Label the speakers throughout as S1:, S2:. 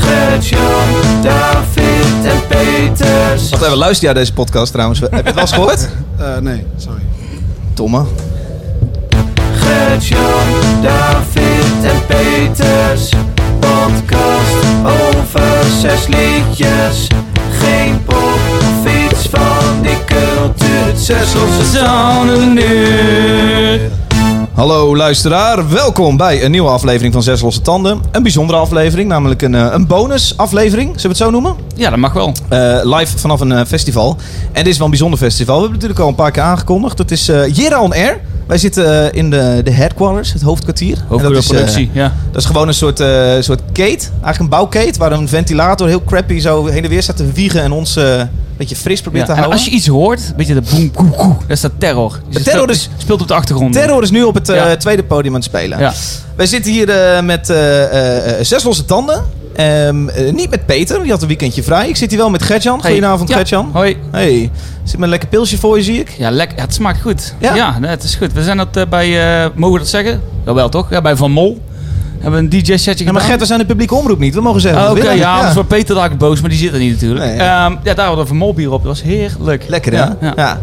S1: Gert-Jan, David en Peters.
S2: Wacht even, luister jij deze podcast trouwens? Heb je het wel eens gehoord?
S3: Eh, nee, sorry.
S2: Tomme.
S1: Gert-Jan, David en Peters. Podcast over zes liedjes. Geen pop of iets van die cultuur. Zes losse zonen nu.
S2: Hallo luisteraar, welkom bij een nieuwe aflevering van Zes Losse Tanden. Een bijzondere aflevering, namelijk een, eh, een bonusaflevering, zullen we het zo noemen?
S4: Ja, dat mag wel.
S2: Eh, live vanaf een eh, festival. En dit is wel een bijzonder festival. We hebben het natuurlijk al een paar keer aangekondigd. Het is eh Jera on Air. Wij zitten eh, in de, de headquarters, het hoofdkwartier. En dat
S4: Hoogere
S2: is, eh,
S4: productie, ja.
S2: Dat is gewoon een soort, eh, soort kate, eigenlijk een bouwkate, waar een ventilator heel crappy zo heen en weer staat te wiegen en ons eh, een beetje fris probeert
S4: Ja,
S2: te
S4: en
S2: houden.
S4: als je iets hoort, weet je dat boem, koe, koe, dat is dat terror. Die
S2: terror
S4: speelt-
S2: is-
S4: speelt op de achtergrond.
S2: Terror is nu op het eh,
S4: Ja.
S2: tweede podium aan het spelen.
S4: Ja.
S2: Wij zitten hier eh, met eh, eh, eh, zes losse tanden. Ehm, eh, niet met Peter, die had een weekendje vrij. Ik zit hier wel met Gertjan.
S4: Hey.
S2: Goedenavond,
S4: Ja,
S2: Gertjan.
S4: Hoi.
S2: Hey, er zit met een lekker pilsje voor je, zie ik.
S4: Ja, lekker. Ja, het smaakt goed.
S2: Ja.
S4: Ja, nee, het is goed. We zijn dat eh, bij, eh, mogen we dat zeggen? Jawel toch? Ja, bij Van Mol. Hebben we een
S2: Ja,
S4: DJ-setje
S2: maar
S4: gedaan.
S2: Gert, we zijn de publieke omroep niet. We mogen zeggen
S4: Oh,
S2: wat
S4: Oké,
S2: we willen.
S4: ja, anders wordt Peter daar boos, maar die zit er niet natuurlijk.
S2: Nee,
S4: Ehm,
S2: ja.
S4: ja. daar hadden we Van Mol bier op. Dat was heerlijk.
S2: Lekker, hè?
S4: Ja, ja.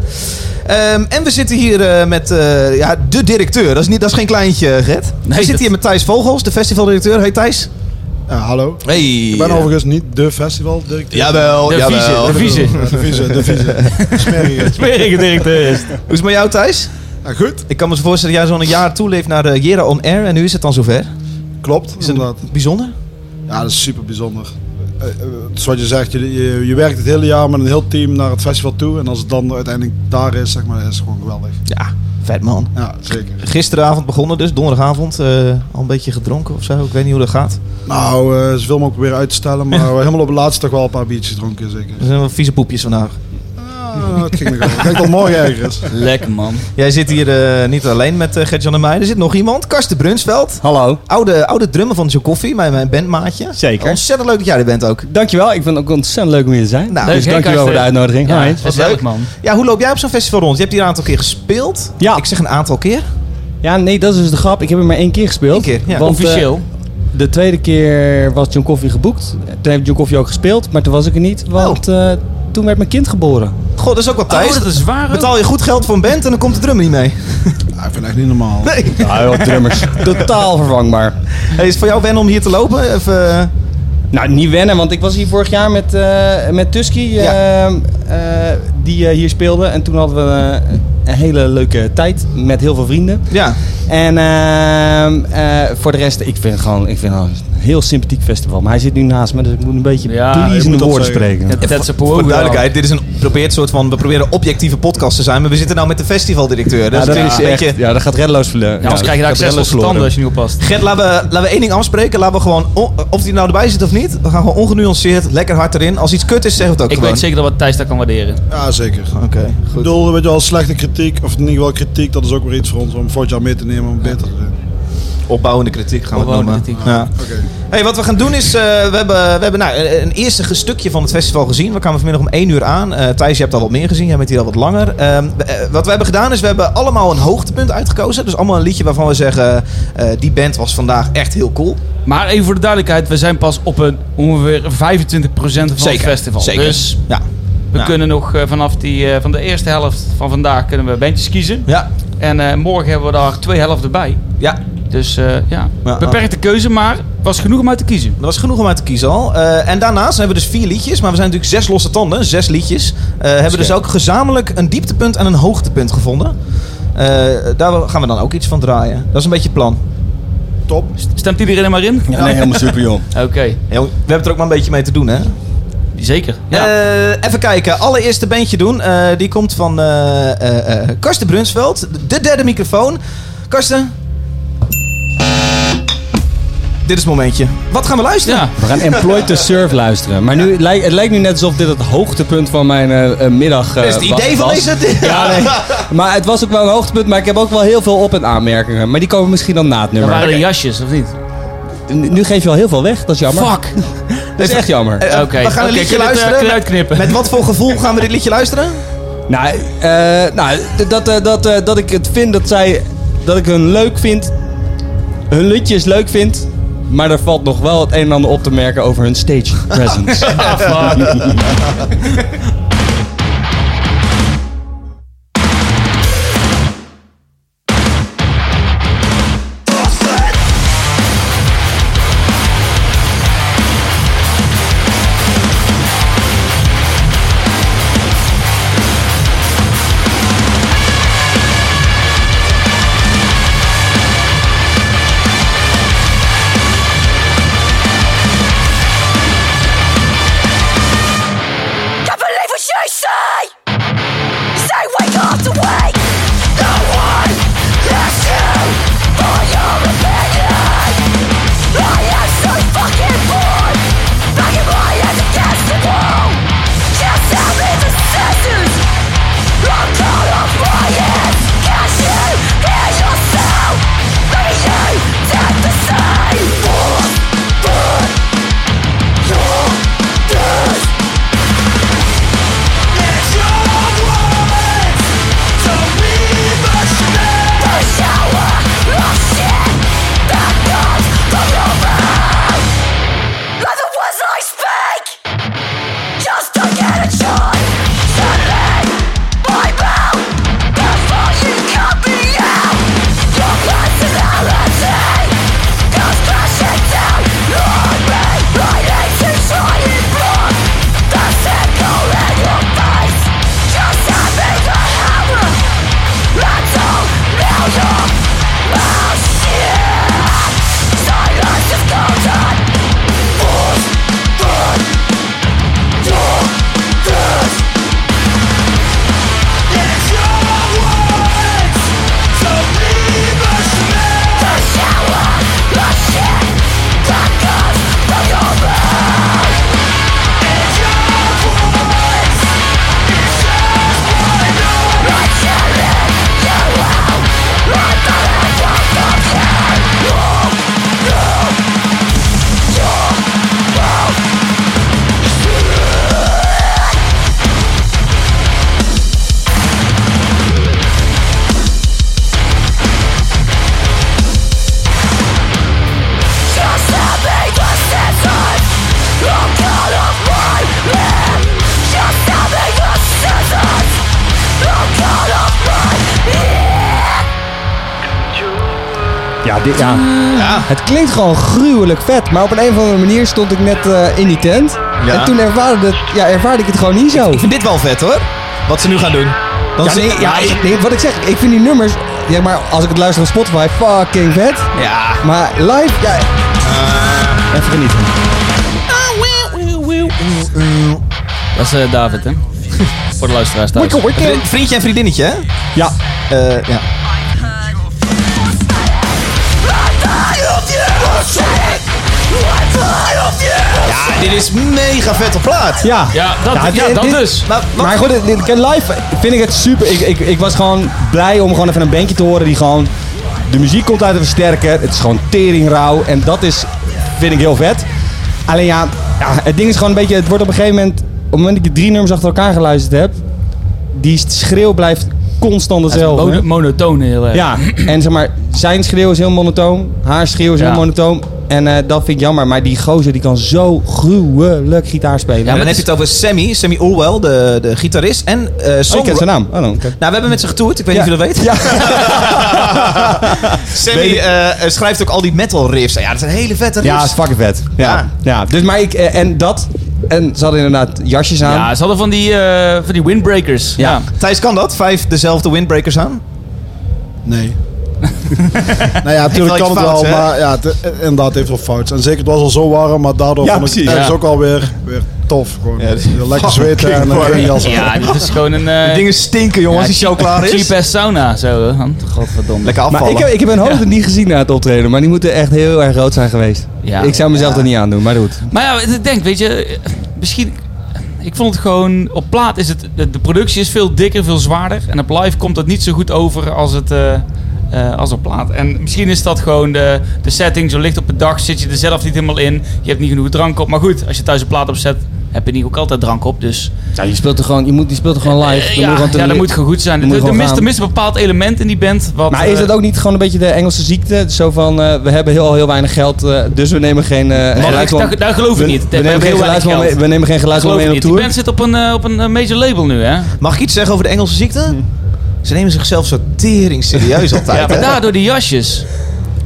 S2: Ehm, en we zitten hier eh, met eh, ja, de directeur. Dat is, niet, dat is geen kleintje, eh, Gert. we
S4: dat-
S2: zitten hier met Thijs Vogels, de festivaldirecteur. Hey Thijs.
S3: Eh, hallo.
S2: Hey.
S3: Ik ben overigens niet de festivaldirecteur.
S2: Jawel,
S4: De
S2: jawel.
S4: vieze, de vieze.
S3: Ja, de vieze, de vieze. Smerige.
S4: Smerige directeur is.
S2: Hoe is het met jou, Thijs?
S3: Ja, Nou, goed,
S2: Ik kan me zo voorstellen dat jij zo'n jaar toeleeft naar de Jera on Air. En nu is het dan zover.
S3: klopt.
S2: Is
S3: inderdaad.
S2: dat bijzonder?
S3: Ja, dat is super bijzonder. Eh, eh, Het is wat je zegt, je, je, je werkt het hele jaar met een heel team naar het festival toe. En als het dan uiteindelijk daar is, zeg maar, is het gewoon geweldig.
S2: Ja, vet man.
S3: Ja, zeker.
S2: Gisteravond begonnen dus, donderdagavond. eh, al een beetje gedronken of zo. Ik weet niet hoe dat gaat.
S3: Nou, eh zoveel mogelijk proberen uit te stellen, maar we hebben helemaal op het laatste toch wel een paar biertjes gedronken, zeker.
S2: Er zijn wel vieze poepjes vandaag.
S3: Ah, het ging nog wel. Ik denk dat morgen ergens.
S4: Lekker man.
S2: Jij zit hier eh, niet alleen met eh, Gert-Jan en mij. Er zit nog iemand. Karsten Brunsveld.
S5: Hallo.
S2: Oude, oude drummer van Joe Koffie, mijn, mijn bandmaatje.
S5: Zeker.
S2: Ontzettend leuk dat jij er bent ook.
S5: Dankjewel, ik vind het ook ontzettend leuk om hier te zijn.
S2: Nou,
S5: dus
S4: hè,
S5: dankjewel voor de
S4: Karsten?
S5: uitnodiging.
S4: Ja,
S5: Hi.
S4: wat
S2: leuk.
S4: leuk man.
S2: Ja, hoe loop jij op zo'n festival rond? Je hebt hier een aantal keer gespeeld.
S5: Ja.
S2: Ik zeg een aantal keer.
S5: Ja, nee, dat is dus de grap. Ik heb hem maar één keer gespeeld.
S2: Eén keer, ja.
S5: Want,
S4: Officieel.
S5: eh, de tweede keer was John Coffee geboekt. Toen heeft John Coffee ook gespeeld, maar toen was ik er niet, want eh, toen werd mijn kind geboren.
S2: God, dat is ook wat
S4: Oh,
S2: Thijs.
S4: dat is waar. ook.
S2: Betaal je goed geld voor een band en dan komt de drummer niet mee.
S3: Ja, ik vind het echt niet normaal.
S2: Nee.
S5: Nou, joh, drummers. Totaal vervangbaar.
S2: Hey, is het voor jou wennen om hier te lopen? Of, eh,
S5: Nou, niet wennen, want ik was hier vorig jaar met, eh met Tusky,
S2: Ja.
S5: ehm, eh, die eh, hier speelde. En toen hadden we eh, een hele leuke tijd met heel veel vrienden.
S2: ja.
S5: En ehm, eh, voor de rest, ik vind, het gewoon, ik vind het gewoon een heel sympathiek festival. Maar hij zit nu naast me, dus ik moet een beetje
S4: Ja,
S3: je moet
S5: pleasende
S3: dat
S5: woorden
S3: zeggen.
S5: spreken.
S4: Ja, Ted Sapoega.
S2: Voor de duidelijkheid, dit is een probeert soort van, we proberen objectieve podcast te zijn, maar we zitten nou met de festivaldirecteur. Dus
S5: Ja, dat,
S2: het
S5: is
S2: een
S5: echt,
S2: beetje-
S5: ja, dat gaat reddeloos verleuren.
S4: Ja, anders krijg je daar zes losse tanden als je niet oppast.
S2: Gert, laten we, laten we één ding afspreken. Laten we gewoon, on- of die nou erbij zit of niet, we gaan gewoon ongenuanceerd, lekker hard erin. Als iets kut is, zeggen we het ook
S4: Ik
S2: gewoon.
S4: weet zeker dat wat Thijs daar kan waarderen.
S3: Ja, zeker.
S2: Oké,
S3: Ik
S2: goed.
S3: bedoel, weet je wel, slechte kritiek, of in ieder geval kritiek, dat is ook weer iets voor ons om volgend jaar mee te nemen om beter te doen.
S2: Opbouwende kritiek gaan we het noemen.
S4: Opbouwende kritiek.
S2: Ja.
S3: Oké.
S2: Hey, wat we gaan doen is, eh, we hebben, we hebben nou, een een eerste stukje van het festival gezien. We kwamen vanmiddag om 1 uur aan. Eh, Thijs, je hebt al wat meer gezien, jij bent hier al wat langer. Ehm, we- eh, wat we hebben gedaan is, we hebben allemaal een hoogtepunt uitgekozen. Dus allemaal een liedje waarvan we zeggen, eh, die band was vandaag echt heel cool.
S4: Maar even voor de duidelijkheid, we zijn pas op een, ongeveer 25% van het festival.
S2: Zeker.
S4: Dus
S2: Ja.
S4: we
S2: Ja.
S4: kunnen nog eh, vanaf die, eh, van de eerste helft van vandaag kunnen we bandjes kiezen.
S2: Ja.
S4: En eh, morgen hebben we daar twee helften bij.
S2: Ja.
S4: Dus eh, ja,
S2: Ja,
S4: beperkte keuze, maar was genoeg om uit te kiezen.
S2: Dat was genoeg om uit te kiezen al. Eh, en daarnaast hebben we dus vier liedjes, maar we zijn natuurlijk zes losse tanden, zes liedjes. Eh hebben dus ook gezamenlijk een dieptepunt en een hoogtepunt gevonden. Eh, daar gaan we dan ook iets van draaien. Dat is een beetje het plan.
S3: Top.
S4: Stemt iedereen er maar in?
S5: nee, helemaal super joh.
S4: Oké,
S2: Hey, jong, we hebben het er ook maar een beetje mee te doen, hè?
S4: zeker. Ja.
S2: Eh, even kijken. Allereerste bandje doen. Eh, die komt van eh, eh, eh, Karsten Brunsveld. De derde microfoon. Karsten. Dit is het momentje. Wat gaan we luisteren?
S4: ja.
S5: We gaan Employ to Serve luisteren. Maar nu, het lijkt- het lijkt nu net alsof dit het hoogtepunt van mijn eh, eh, middag eh,
S2: Dat is het
S5: wa-
S2: idee van
S5: was.
S2: deze...
S5: Ja, nee. Maar het was ook wel een hoogtepunt, maar ik heb ook wel heel veel op- en aanmerkingen. Maar die komen misschien dan na het
S4: Dat
S5: nummer.
S4: waren de jasjes, of niet?
S5: Nu nu geef je al heel veel weg, dat is jammer.
S4: Fuck!
S5: Dat is echt jammer.
S2: Eh,
S4: Oké,
S2: We gaan een
S4: oké,
S2: liedje
S4: kun je dit, eh,
S2: luisteren.
S4: kun je
S2: Met-
S4: uitknippen?
S2: Met wat voor gevoel gaan we dit liedje luisteren?
S5: Nou, eh, nou d- dat, eh, dat, eh, dat ik het vind dat zij. dat ik hun leuk vind. hun liedjes leuk vind. Maar er valt nog wel het een en ander op te merken over hun stage presence.
S6: Can't believe what you say! You say wake up to wake! No one asks you for your opinion! I am so fucking bored! Banging my head against the wall! Can't tell me the sentence! I'm caught up by it! Can't you hear yourself? Maybe you did the same! What? What? You're dead!
S5: Ja, dit, ja. Het klinkt gewoon gruwelijk vet, maar op een, of andere manier stond ik net eh, in die tent.
S2: Ja.
S5: En toen ervaarde, het, ja, ervaarde ik het gewoon niet zo.
S2: Ik vind dit wel vet hoor. Wat ze nu gaan doen. Dan
S5: Ja,
S2: zit-
S5: nee, ja, nee, wat ik zeg, ik vind die nummers, ja, maar als ik het luister op Spotify, fucking vet.
S2: ja.
S5: Maar live, ja, even genieten.
S4: Dat is eh, David, hè? Voor de luisteraars thuis.
S5: Wikkel, wikkel.
S2: Vri- Vriendje en vriendinnetje, hè?
S5: Ja,
S2: Eh, ja. Ja, dit is mega vette plaat.
S5: ja.
S4: Ja, dat, ja,
S5: Ja, dit-
S4: dat
S5: dit-
S4: dus.
S2: Maar, wat-
S5: Maar goed, dit- dit- live vind ik het super. Ik, ik, ik was gewoon blij om gewoon even een bandje te horen die gewoon... De muziek komt uit een versterker. Het is gewoon teringrauw. En dat is, vind ik heel vet. Alleen ja, ja, het ding is gewoon een beetje... Het wordt op een gegeven moment... Op het moment dat ik drie nummers achter elkaar geluisterd heb... Die schreeuw blijft constant hetzelfde.
S4: Mono- monotoon heel erg.
S5: Ja, en zeg maar, zijn schreeuw is heel monotoon. Haar schreeuw is
S4: Ja.
S5: heel monotoon. En eh, dat vind ik jammer. Maar die gozer die kan zo gruwelijk gitaar spelen.
S2: Ja, maar dan
S5: ik
S2: heb je het over Sammy, Sammy Orwell, de, de gitarist. En eh songwriter.
S5: ken zijn naam. Oh, dan, oké.
S2: Nou, we hebben met ze getoerd, ik weet niet
S5: Ja.
S2: of je dat weet. Sammy eh, schrijft ook al die metal riffs. Ja, dat zijn hele vette riffs.
S5: Ja, is fucking vet. Ja.
S2: Ja.
S5: ja. dus maar ik, eh, en dat, en ze hadden inderdaad jasjes aan.
S4: Ja, ze hadden van die, eh, van die windbreakers. Ja.
S2: Thijs, kan dat? Vijf dezelfde windbreakers aan?
S3: Nee. nou ja,
S2: wel
S3: natuurlijk kan
S2: iets
S3: het wel,
S2: fouts, hè?
S3: maar ja, het, eh, inderdaad heeft wel fout. En zeker, het was al zo warm, maar daardoor
S5: Ja,
S3: vond ik het
S5: precies,
S3: ergens
S4: ja.
S3: ook alweer weer tof. Gewoon
S2: Ja, dit-
S3: lekker zweten en een
S2: warm.
S3: regenjas.
S4: Ja, dit is gewoon een... eh,
S2: Dingen stinken, jongens, als die show klaar is.
S4: Cheap ass sauna, zo. hè? Godverdomme.
S2: Lekker
S5: maar
S2: afvallen.
S5: ik heb, ik heb hun hoofden niet gezien na het optreden, maar die moeten echt heel erg groot zijn geweest.
S4: Ja.
S5: Ik zou mezelf dat niet aandoen, maar goed.
S4: Maar ja, ik denk, weet je, eh, misschien. Ik vond het gewoon. Op plaat is het. De de productie is veel dikker, veel zwaarder. En op live komt het niet zo goed over als het. eh, eh, als op plaat. En misschien is dat gewoon de, de setting. Zo licht op de dag zit je er zelf niet helemaal in. Je hebt niet genoeg drank op. Maar goed, als je thuis een plaat opzet, heb je niet ook altijd drank op. Dus
S5: Ja, je speelt er gewoon, je moet, die speelt er gewoon live.
S4: ja,
S5: moet
S4: ja,
S5: gewoon te-
S4: dat moet gewoon goed zijn.
S5: dan moet
S4: Er- Er
S5: gewoon
S4: mist,
S5: gaan.
S4: er mist een bepaald element in die band. Wat,
S5: Maar is
S4: eh,
S5: dat ook niet gewoon een beetje de Engelse ziekte? Zo van, eh, we hebben heel, heel weinig geld, eh, dus we nemen geen eh
S4: Nee, dat,
S5: geluidsman-
S4: dat- dat geloof ik
S5: we-
S4: niet.
S5: We nemen geen geluidsman mee- we nemen geen geluidsman
S4: Geloof ik
S5: mee op
S4: niet. Die
S5: tour.
S4: band zit op een, eh, op een eh, major label nu, hè?
S2: Mag ik iets zeggen over de Engelse ziekte? Ze nemen zichzelf zo tering serieus altijd.
S4: Hm. Ja, maar
S2: hè?
S4: daardoor die jasjes.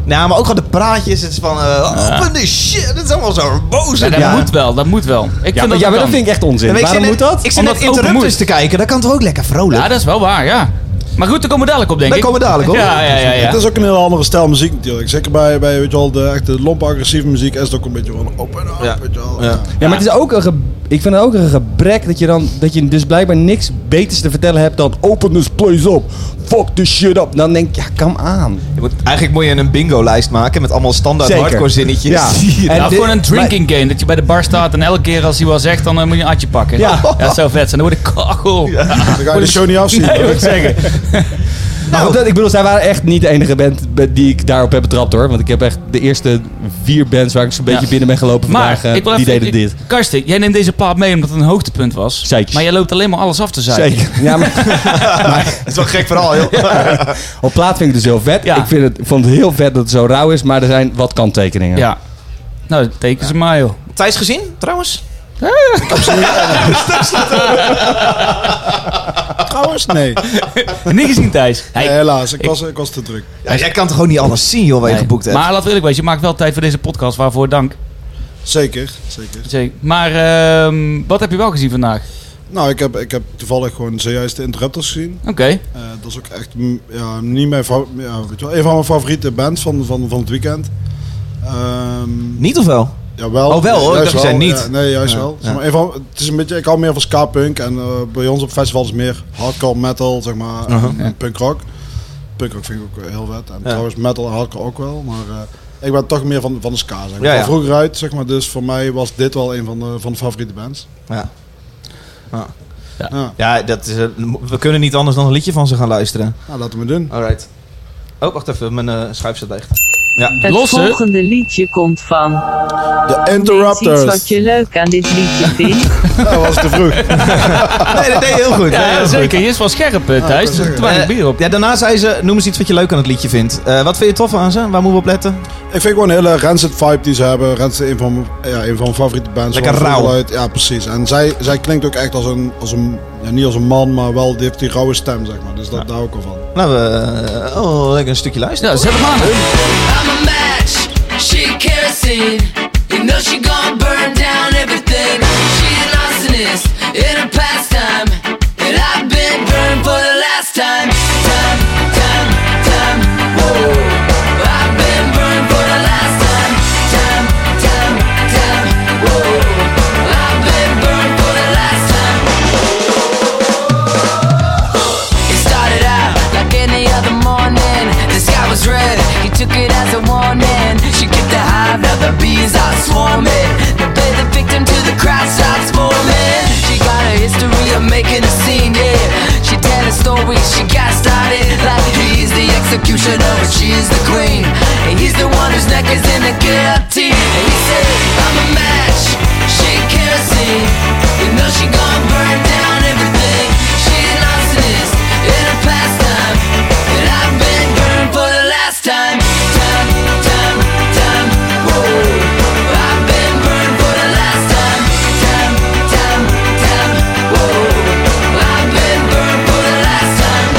S2: Nou, maar ook al de praatjes. Het is van, eh open the shit. Dat is allemaal zo boos.
S4: Ja, dat
S5: Ja.
S4: moet wel, dat moet wel. Ik vind
S5: Ja, maar,
S4: dat
S5: ja, maar
S4: het
S5: dat
S4: kan.
S5: vind ik echt
S2: Ja,
S5: onzin.
S2: maar ik
S5: Waarom
S2: zit
S5: moet
S2: net-
S5: dat?
S2: Ik zit
S4: Omdat
S2: net
S4: het open
S2: interrupters
S4: moet.
S2: te kijken. Dat kan toch ook lekker vrolijk?
S4: Ja, dat is wel waar, ja. Maar goed, daar komen we dadelijk op, denk
S2: Daar
S4: ik.
S2: komen we dadelijk op.
S4: Ja, ja, ja. ja.
S3: Het is ook een heel andere stijl muziek natuurlijk. Zeker bij, bij weet je wel, de echte lompe agressieve muziek is het ook een beetje van open up,
S2: Ja.
S3: weet je wel.
S2: Ja.
S5: Ja, maar het is ook een ge- ik vind het ook een gebrek dat je dan dat je dus blijkbaar niks beters te vertellen hebt dan open this place up, fuck this shit up. Dan denk ik, ja, kom aan.
S2: Je moet, eigenlijk moet je een bingo-lijst maken met allemaal standaard
S5: Zeker.
S2: hardcore zinnetjes.
S5: Ja.
S2: Hier.
S5: En
S4: Ja, of
S5: dit-
S4: gewoon een drinking game. Dat je bij de bar staat en elke keer als hij wel zegt, dan eh, moet je een atje pakken.
S5: Ja.
S4: Dat zou vet zijn. Dan word ik kachel.
S3: Dan ga je de show niet afzien.
S4: Nee, moet ik zeggen.
S5: Maar goed, dat- ik bedoel, zij waren echt niet de enige band be- die ik daarop heb betrapt hoor. Want ik heb echt de eerste vier bands waar ik zo'n beetje
S4: Ja.
S5: binnen ben gelopen
S4: Maar,
S5: vandaag, eh,
S4: ik wil
S5: die
S4: even...
S5: deden
S4: ik-
S5: dit.
S4: Karsten, jij neemt deze plaat mee omdat het een hoogtepunt was.
S5: Zeker.
S4: Maar jij loopt alleen maar alles af te zijn.
S5: Zeker. Ja, maar
S2: Dat is wel een gek verhaal, joh.
S5: op plaat vind ik het dus heel vet.
S4: Ja.
S5: Ik vind het, ik vond het heel vet dat het zo rauw is, maar er zijn wat kanttekeningen.
S4: Ja. Nou, dat teken ze maar, joh.
S2: Thijs gezien, trouwens?
S3: Trouwens, nee.
S4: Niet gezien, Thijs. Hey.
S3: Nee, helaas, ik, was, ik was te druk.
S2: Ja, jij kan toch gewoon niet alles zien, joh, wat je
S4: Nee.
S2: geboekt hebt?
S4: Maar laten we eerlijk wezen, je maakt wel tijd voor deze podcast, waarvoor dank.
S3: Zeker, zeker.
S4: Zeker. Maar ehm, wat heb je wel gezien vandaag?
S3: Nou, ik heb, ik heb toevallig gewoon zojuist de Interrupters gezien.
S4: Oké.
S3: Eh, dat is ook echt mm, ja, niet mijn fa- ja, weet je wel, een van mijn favoriete bands van, van, van het weekend. Ehm,
S2: Niet of wel?
S3: Ja, wel.
S2: Oh, wel, hoor.
S3: Juist
S2: Ik dacht, je zei
S3: wel.
S2: niet.
S3: Ja, nee, juist
S2: Ja,
S3: wel.
S2: ja.
S3: Zeg maar, een van- het is een beetje, ik hou meer van ska-punk en eh, bij ons op festivals is meer hardcore metal, zeg maar, en- en, punk rock. Punk rock vind ik ook heel vet. En trouwens metal en hardcore ook wel, maar eh, ik ben toch meer van, van de ska, zeg maar.
S2: Ja, ja.
S3: Van vroeger uit, zeg maar, dus voor mij was dit wel een van de, van de favoriete bands.
S2: Ja. Ja.
S3: Ja.
S2: Ja, dat is, eh, we kunnen niet anders dan een liedje van ze gaan luisteren.
S3: Nou, laten we het doen.
S2: Alright. Oh, wacht even. Mijn eh, schuif staat dicht. Ja.
S7: Het
S4: Losse?
S7: volgende liedje komt van.
S3: De
S7: Weet iets wat
S3: Interrupters.
S7: je leuk aan dit liedje vindt.
S3: Dat was te vroeg.
S2: Nee, dat deed je heel goed.
S4: Ja,
S2: Nee, heel goed.
S4: zeker. Je is wel scherp, eh, Thijs.
S3: zeker.
S4: er te weinig
S2: Eh,
S4: bier op.
S2: Ja, daarna zei ze, noem eens iets wat je leuk aan het liedje vindt. Eh, wat vind je tof aan ze? Waar moeten we op letten?
S3: Ik vind gewoon een hele Rancid vibe die ze hebben. Rancid is een van, mijn- ja, een van mijn favoriete bands.
S2: Lekker
S3: Van vroeger
S2: rauw.
S3: uit. Ja, precies. En zij, zij klinkt ook echt als een, als een ja, niet als een man, maar wel, die heeft die rauwe stem, zeg maar. Dus dat, daar ook al van.
S2: Nou, eh, oh, lekker een stukje luisteren.
S4: Ja, zet hem aan.
S8: I'm a match, she kerosene. You know she gon' burn down everything. She an arsonist in her pastime, and I've been burned for the last time. Time, time, time, whoa. I've been burned for the last time. Time, time, time, whoa. I've been burned for the last time. It started out like any other morning. The sky was red, he took it as a warning. She kicked the hive, now the bees are swarming. They play the victim till the crowd stops forming. She got a history of making a scene, yeah. She telling stories, she got started. Like he's the executioner, and she's the queen. And he's the one whose neck is in the guillotine. And he said, I'm a match, she kerosene. You know she gon' burn down everything. She an arsonist in her pastime, and I've been burned for the last time. Time, time, time, whoa. I've been burned for the last time. Time, time, time, whoa. I've been burned for the last time.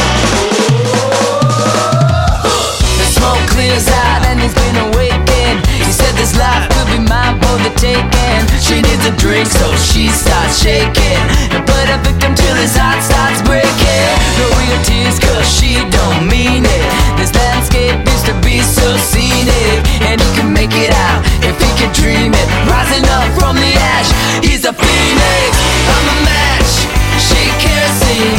S8: The smoke clears out and he's been awakened. He said this life could be mine for the taking. She needs a drink, so she starts shaking. And put a victim till his heart starts breaking. No real tears, cause she don't mean it. This landscape used to be so scenic. And he can make it out if he can dream it. Rising up from the ash, he's a phoenix. I'm a match, she can't see.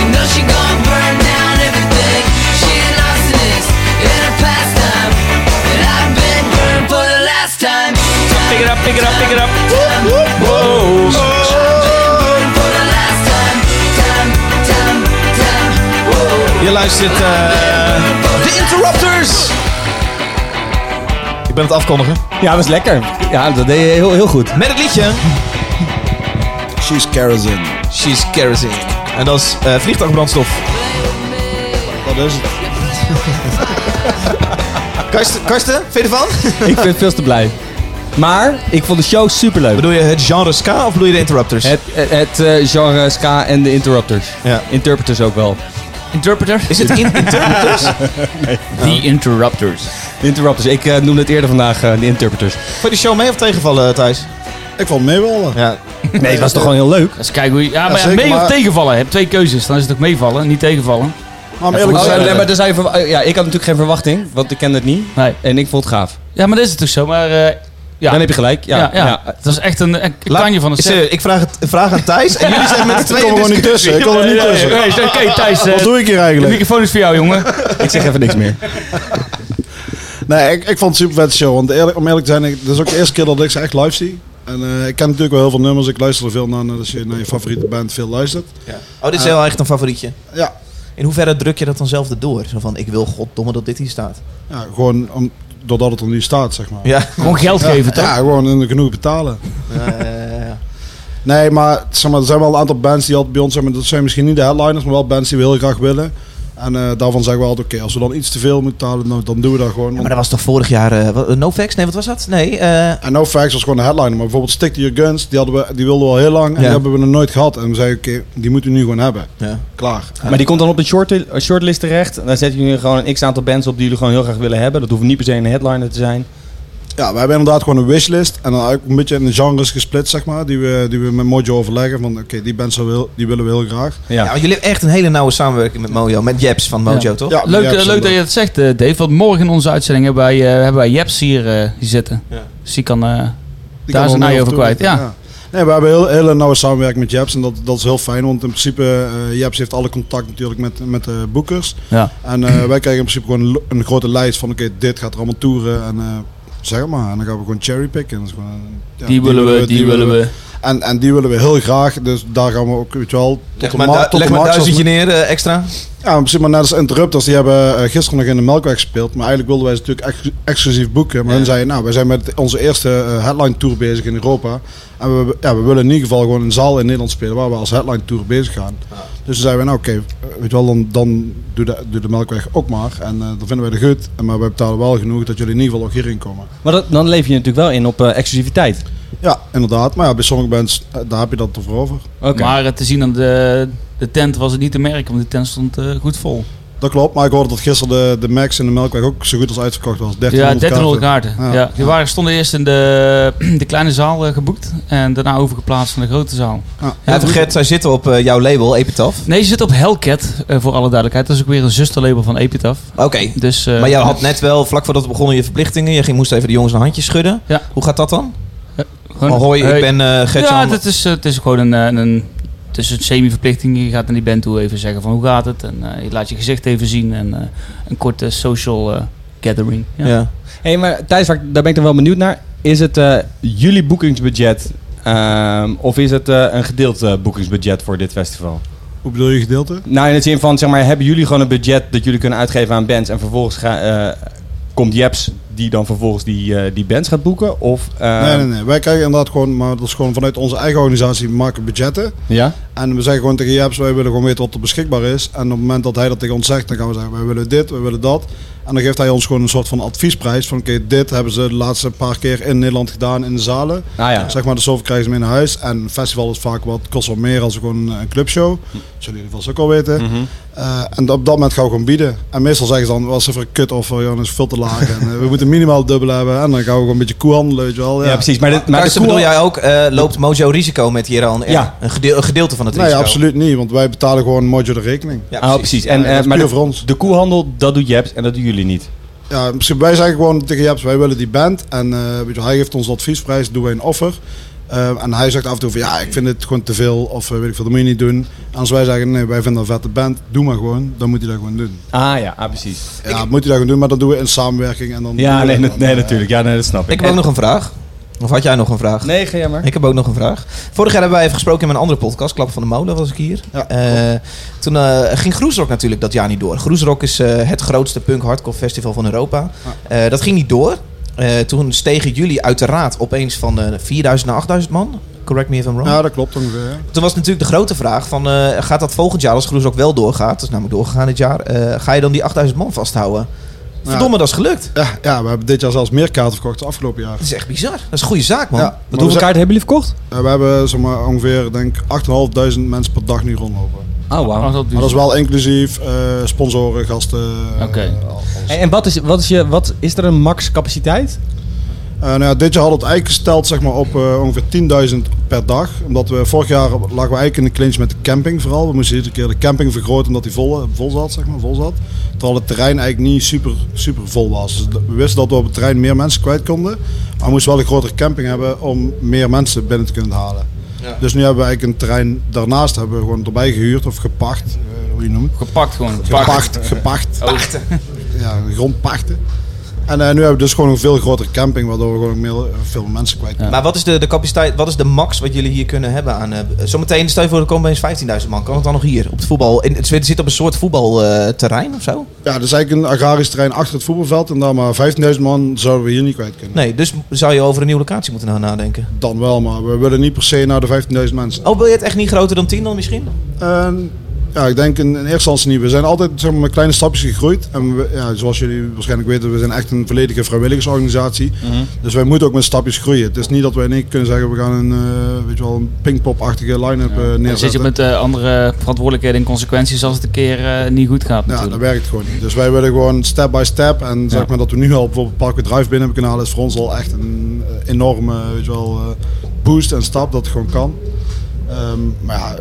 S8: You know she gon' burn down everything. She an arsonist in her pastime. And I've been burned for the last time.
S4: Pick it up, pick it up, pick it up. Wow.
S8: Burned for the last time. Time, time, time. Whoa.
S2: Je luistert eh The Interrupters! Ik ben het afkondigen.
S5: Ja, dat was lekker. Ja, dat deed je heel, heel goed.
S2: Met het liedje
S3: She's kerosene.
S2: She's kerosene. En dat is eh, vliegtuigbrandstof.
S3: Dat is het.
S2: Karsten, Karsten, vind je ervan?
S5: Ik vind het veel te blij. Maar ik vond de show superleuk.
S2: Bedoel je het genre ska of bedoel je de interrupters?
S5: Het, het eh, genre ska en de interrupters.
S2: Ja.
S5: Interpreters ook wel.
S4: Interpreter?
S2: Is het in interrupters?
S4: The Interrupters.
S5: De interrupters. Ik eh, noemde het eerder vandaag, eh, de interpreters.
S2: Vond je de show mee of tegenvallen, eh, Thijs?
S3: Ik vond meewallen.
S2: Ja.
S5: Nee, het was toch gewoon heel leuk?
S4: Dat is kijk hoe je... Ja, maar ja,
S3: zeker,
S4: mee of
S3: maar-
S4: tegenvallen? Je hebt twee keuzes. Dan is het ook meevallen, niet tegenvallen.
S3: Maar om eerlijk te
S5: Oh, ja,
S3: zijn,
S5: nee, maar daar zou je verwa- ja, ik had natuurlijk geen verwachting, want ik kende het niet.
S4: Nee.
S5: En ik vond het gaaf.
S4: Ja, maar dat is het toch zo. Maar eh, ja.
S5: Dan heb je gelijk. Ja,
S4: ja,
S5: ja,
S4: ja. Het was echt een, een kanje van het set.
S2: Serieus, Ik vraag, het, een vraag aan Thijs en jullie zijn met de
S3: ik
S2: tweede
S3: kom er gewoon niet
S2: discussie.
S3: tussen. Ik kom er niet
S4: Nee,
S3: tussen.
S4: nee, nee, Oké, Thijs. eh,
S3: Wat doe ik hier
S4: de
S3: eigenlijk?
S4: microfoon is voor jou, jongen.
S5: Ik zeg even niks meer.
S3: Nee, ik, ik vond het super vet show. Want eerlijk, om eerlijk te zijn, ik, dit is ook de eerste keer dat ik ze echt live zie. En eh, ik ken natuurlijk wel heel veel nummers. Ik luister er veel naar. net Als je naar je favoriete band veel luistert.
S2: Oh, dit is wel echt een favorietje.
S3: Ja,
S2: In hoeverre druk je dat dan zelf erdoor? Zo van, ik wil goddomme dat dit hier staat.
S3: ja gewoon om, doordat het er nu staat, zeg maar.
S2: Ja.
S4: Gewoon geld geven, toch?
S3: Ja, gewoon en genoeg betalen. Nee, maar, zeg maar er zijn wel een aantal bands die altijd bij ons zijn. maar Dat zijn misschien niet de headliners, maar wel bands die we heel graag willen. En eh, daarvan zeggen we altijd, oké, als we dan iets te veel moeten betalen, dan, dan doen we dat gewoon.
S2: Maar dat was toch vorig jaar... eh, wat- Novex? Nee, wat was dat? Nee, eh,
S3: En No Facts was gewoon de headliner. Maar bijvoorbeeld Stick to Your Guns, die, hadden we, die wilden we al heel lang. En
S2: Ja.
S3: die hebben we nog nooit gehad. En we zeiden, oké, die moeten we nu gewoon hebben.
S2: Ja.
S3: Klaar.
S5: Maar die komt dan op de short, eh, shortlist terecht. En Dan zetten jullie gewoon een x-aantal bands op die jullie gewoon heel graag willen hebben. Dat hoeft niet per se een headliner te zijn.
S3: Ja, we hebben inderdaad gewoon een wishlist. En dan ook een beetje in de genres gesplit, zeg maar. Die we, die we met Mojo overleggen. Van, oké, die bands zouden we heel- die willen we heel graag.
S5: Ja.
S2: Ja, want jullie hebben echt een hele nauwe samenwerking met Mojo. Met Jeps van Mojo,
S4: Ja.
S2: toch?
S3: Ja,
S4: Leuk,
S3: ja,
S4: eh, leuk dat je dat zegt, eh, Dave. Want morgen in onze uitzending hebben wij, eh, hebben wij Jeps hier eh, hier zitten.
S2: Ja.
S4: Dus die kan... eh,
S3: Die
S4: Daar
S3: kan
S4: is
S3: wel
S4: een ei
S3: meer
S4: over kwijt,
S3: toelichten,
S4: ja.
S3: Nee, we hebben heel hele nauwe samenwerking met Jeps en dat, dat is heel fijn, want in principe eh Jeps heeft alle contact natuurlijk met, met de boekers.
S4: ja.
S3: En eh, wij krijgen in principe gewoon een lo- een grote lijst van oké, dit gaat er allemaal toeren en eh, zeg het maar. En dan gaan we gewoon cherrypicken. Dat is gewoon, eh, ja,
S4: die willen we, die willen we.
S3: En, en die willen we heel graag, dus daar gaan we ook, weet je wel, tot
S2: Leg
S3: de
S2: maar,
S3: ma-
S2: du-
S3: tot de
S2: leg maar
S3: max als-
S2: duizendje neer eh, extra.
S3: Ja, in principe net als Interrupters, die hebben eh, gisteren nog in de Melkweg gespeeld. Maar eigenlijk wilden wij ze natuurlijk ex- exclusief boeken. Maar hun zeiden, nou, wij zijn met onze eerste eh, headline tour bezig in Europa. En we, ja, we willen in ieder geval gewoon een zaal in Nederland spelen waar we als headline tour bezig gaan. Dus toen zeiden we, nou oké, eh, weet je wel, dan, dan doe, de, doe de Melkweg ook maar. En eh, dan vinden wij de goed. En, Maar wij betalen wel genoeg dat jullie in ieder geval ook hierin komen.
S5: Maar dat, dan leef je natuurlijk wel in op eh, exclusiviteit.
S3: Ja, inderdaad. Maar ja, bij sommige bands, eh, daar heb je dat ervoor over.
S5: Oké.
S4: Maar eh, te zien aan de, de tent was het niet te merken, want de tent stond eh, goed vol.
S3: Dat klopt, maar ik hoorde dat gisteren de, de Max in de Melkweg ook zo goed als uitverkocht was. 1300
S4: ja, 1300
S3: kaarten.
S4: kaarten. Ja.
S3: Ja.
S4: Die waren, stonden eerst in de, de kleine zaal eh, geboekt en daarna overgeplaatst naar de grote zaal.
S2: Ja, vergeet, zij zitten op eh, jouw label, Epitaph.
S4: Nee, ze zit op Hellcat, eh, voor alle duidelijkheid. Dat is ook weer een zusterlabel van Epitaph.
S2: Oké.
S4: Dus, eh,
S2: Maar jij had net wel, vlak voordat we begonnen, je verplichtingen. Je ging, moest even de jongens een handje schudden.
S4: Ja.
S2: Hoe gaat dat dan?
S4: gewoon-
S2: oh, hoi,
S4: Hey.
S2: ik ben eh Gertjan.
S4: Ja, het is, eh, het is gewoon een, eh, een, het is een semi-verplichting. Je gaat naar die band toe even zeggen van hoe gaat het. En eh, je laat je gezicht even zien. En eh, een korte social eh, gathering. Ja.
S2: ja.
S5: hey, maar Thijs, waar- daar ben ik dan wel benieuwd naar. Is het eh, jullie boekingsbudget ehm, of is het eh, een gedeeld eh, boekingsbudget voor dit festival?
S3: Hoe bedoel je gedeelte?
S5: Nou, in het zin van, zeg maar, hebben jullie gewoon een budget dat jullie kunnen uitgeven aan bands en vervolgens ga, eh, komt Jeps die dan vervolgens die, eh, die bands gaat boeken? Of, eh,
S3: Nee, nee, nee. Wij krijgen inderdaad gewoon, maar dat is gewoon vanuit onze eigen organisatie, we maken budgetten.
S5: Ja?
S3: En we zeggen gewoon tegen Jeps, wij willen gewoon weten wat er beschikbaar is. En op het moment dat hij dat tegen ons zegt, dan gaan we zeggen, wij willen dit, wij willen dat. En dan geeft hij ons gewoon een soort van adviesprijs van, oké, dit hebben ze de laatste paar keer in Nederland gedaan in de zalen.
S5: Nou ja.
S3: Zeg maar, dus zoveel krijgen ze mee naar huis. En een festival is vaak wat, kost wat meer als gewoon een
S5: Hm.
S3: clubshow. Zullen jullie vast ook al weten.
S5: Mhm.
S3: Eh, en op dat moment gaan we gewoon bieden. En meestal zeggen ze dan, was even een kut offer, jongens, is veel te laag. en, eh, we moeten minimaal dubbel hebben. En dan gaan we gewoon een beetje koehandelen, weet je wel.
S5: Ja, precies. Maar, dit, maar
S2: Karsten,
S5: de koe-
S2: bedoel jij ook, eh, loopt Mojo risico met hier al een,
S5: Ja.
S2: een, gedeel- een gedeelte van het
S3: Nee,
S2: risico?
S3: absoluut niet, want wij betalen gewoon Mojo de rekening.
S2: Ja,
S5: Ah, precies. En,
S3: Ja, dat
S5: eh,
S3: is
S5: maar
S3: puur
S5: de,
S3: voor ons.
S5: de koehandel, dat doet Jeps en dat doen jullie niet.
S3: Ja, misschien, wij zeggen gewoon tegen Jeps, wij willen die band. En eh, weet je, hij geeft ons de adviesprijs, doen wij een offer. Eh, en hij zegt af en toe van, ja, ik vind het gewoon te veel. Of eh, weet ik veel, dat moet je niet doen. En als wij zeggen, nee, wij vinden een vette band, doe maar gewoon. Dan moet hij dat gewoon doen.
S5: Ah ja, ah, precies.
S3: Ja, moet hij dat gewoon doen, maar dat doen we in samenwerking. En dan
S5: Ja,
S3: doen we
S5: nee,
S3: dat
S5: nat-
S3: dan.
S5: nee, natuurlijk. Ja, nee, dat snap ik.
S2: Ik heb ook nog een vraag. Of had jij nog een vraag?
S5: Nee, ga jij maar.
S2: Ik heb ook nog een vraag. Vorig jaar hebben wij even gesproken in mijn andere podcast, Klap van de Molen was ik hier.
S3: Ja,
S2: Eh, toen eh, ging Groesrock natuurlijk dat jaar niet door. Groesrock is eh, het grootste punk hardcore festival van Europa. Eh, dat ging niet door. Eh, toen stegen jullie uiteraard opeens van eh, 4000 naar 8000 man. Correct me if I'm wrong.
S3: Ja, dat klopt ongeveer.
S2: Toen was natuurlijk de grote vraag van, eh, gaat dat volgend jaar, als Groes ook wel doorgaat, dat is namelijk doorgegaan dit jaar, eh, ga je dan die 8000 man vasthouden? Verdomme, dat is gelukt.
S3: Ja, ja, we hebben dit jaar zelfs meer kaarten verkocht dan afgelopen jaar.
S2: Dat is echt bizar. Dat is een goede zaak, man.
S3: Ja, maar
S5: Wat
S3: we,
S5: hoeveel
S3: zijn-
S5: kaarten hebben jullie verkocht?
S3: eh, we hebben zeg maar, ongeveer denk, ik, 8.500 mensen per dag nu rondlopen.
S5: Oh, wauw.
S4: Oh, dat
S3: Maar dat
S4: duurt.
S3: is wel inclusief eh, sponsoren, gasten. eh,
S4: Oké.
S3: al- alles.
S5: En, en wat, is, wat, is je, wat is er een max capaciteit?
S3: Eh, nou ja, dit jaar hadden we het eigenlijk gesteld zeg maar, op eh, ongeveer 10.000 per dag. Omdat we vorig jaar lagen we eigenlijk in de clinch met de camping vooral. We moesten iedere keer de camping vergroten omdat die vol, eh, vol, zat, zeg maar, vol zat. Terwijl het terrein eigenlijk niet super, super vol was. Dus we wisten dat we op het terrein meer mensen kwijt konden. Maar we moesten wel een grotere camping hebben om meer mensen binnen te kunnen halen. Dus nu hebben we eigenlijk een terrein daarnaast hebben we gewoon erbij gehuurd of gepacht. eh, hoe je het noemt.
S4: Gepakt gewoon.
S3: Gepacht. Gepacht.
S4: Pachten.
S3: Ja, grondpachten. En eh, nu hebben we dus gewoon een veel grotere camping, waardoor we gewoon meer, eh, veel mensen kwijt kunnen.
S2: Maar wat is de, de capaciteit, wat is de max wat jullie hier kunnen hebben aan... eh, zometeen, stel je voor, er komen eens 15.000 man. Kan het dan nog hier, op het voetbal? In, het zit op een soort voetbalterrein of zo?
S3: Ja, dat is eigenlijk een agrarisch terrein achter het voetbalveld. En daar maar 15.000 man zouden we hier niet kwijt kunnen.
S2: Nee, dus zou je over een nieuwe locatie moeten na- nadenken.
S3: Dan wel, maar we willen niet per se naar de 15.000 mensen.
S2: Oh, wil je het echt niet groter dan 10 dan misschien?
S3: En, ja, ik denk in, in eerste instantie niet. We zijn altijd zeg maar, met kleine stapjes gegroeid. En we- ja, zoals jullie waarschijnlijk weten, we zijn echt een volledige vrijwilligersorganisatie.
S4: Mhm.
S3: Dus wij moeten ook met stapjes groeien. Het is niet dat wij in één keer kunnen zeggen, we gaan een, eh, weet je wel, een pingpop-achtige line-up eh,
S4: Dan zit je
S3: neerzetten.
S4: met eh, andere verantwoordelijkheden en consequenties als het een keer eh, niet goed gaat
S3: Ja, dat
S4: natuurlijk.
S3: werkt gewoon niet. Dus wij willen gewoon step by step. En zeg maar dat we nu al bijvoorbeeld Parkway Drive binnen hebben kunnen halen, is voor ons al echt een eh, enorme weet je wel, eh, boost en stap dat het gewoon kan. Ehm, maar ja,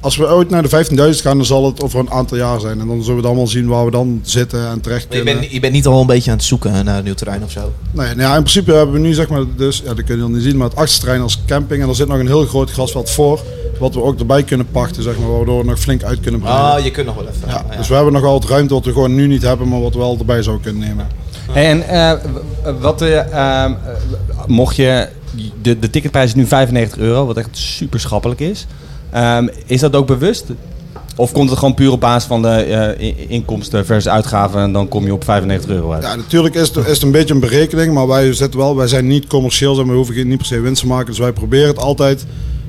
S3: als we ooit naar de 15.000 gaan, dan zal het over een aantal jaar zijn. En dan zullen we dan wel zien waar we dan zitten en terecht
S2: Je
S3: kunnen.
S2: bent, je bent niet al een beetje aan het zoeken naar een nieuw terrein of zo?
S3: Nee, nou ja, in principe hebben we nu zeg maar, dus, ja, dat kun je dan niet zien, maar het achterterrein als camping. En er zit nog een heel groot grasveld voor, wat we ook erbij kunnen pachten, zeg maar, waardoor we nog flink uit kunnen breiden.
S2: Ah, je kunt nog wel even.
S3: Ja,
S2: Ah, ja.
S3: dus we hebben nog wel wat ruimte wat we gewoon nu niet hebben, maar wat we wel erbij zouden kunnen nemen.
S5: En eh, w- wat, eh, ehm, eh, mocht je, de, de ticketprijs is nu 95 euro, wat echt super schappelijk is. Ehm, is dat ook bewust? Of komt het gewoon puur op basis van de eh, in- inkomsten versus uitgaven en dan kom je op 95 euro uit?
S3: Ja, natuurlijk is het, is het een beetje een berekening, maar wij, zitten wel, wij zijn niet commercieel en we hoeven geen- niet per se winst te maken. Dus wij proberen het altijd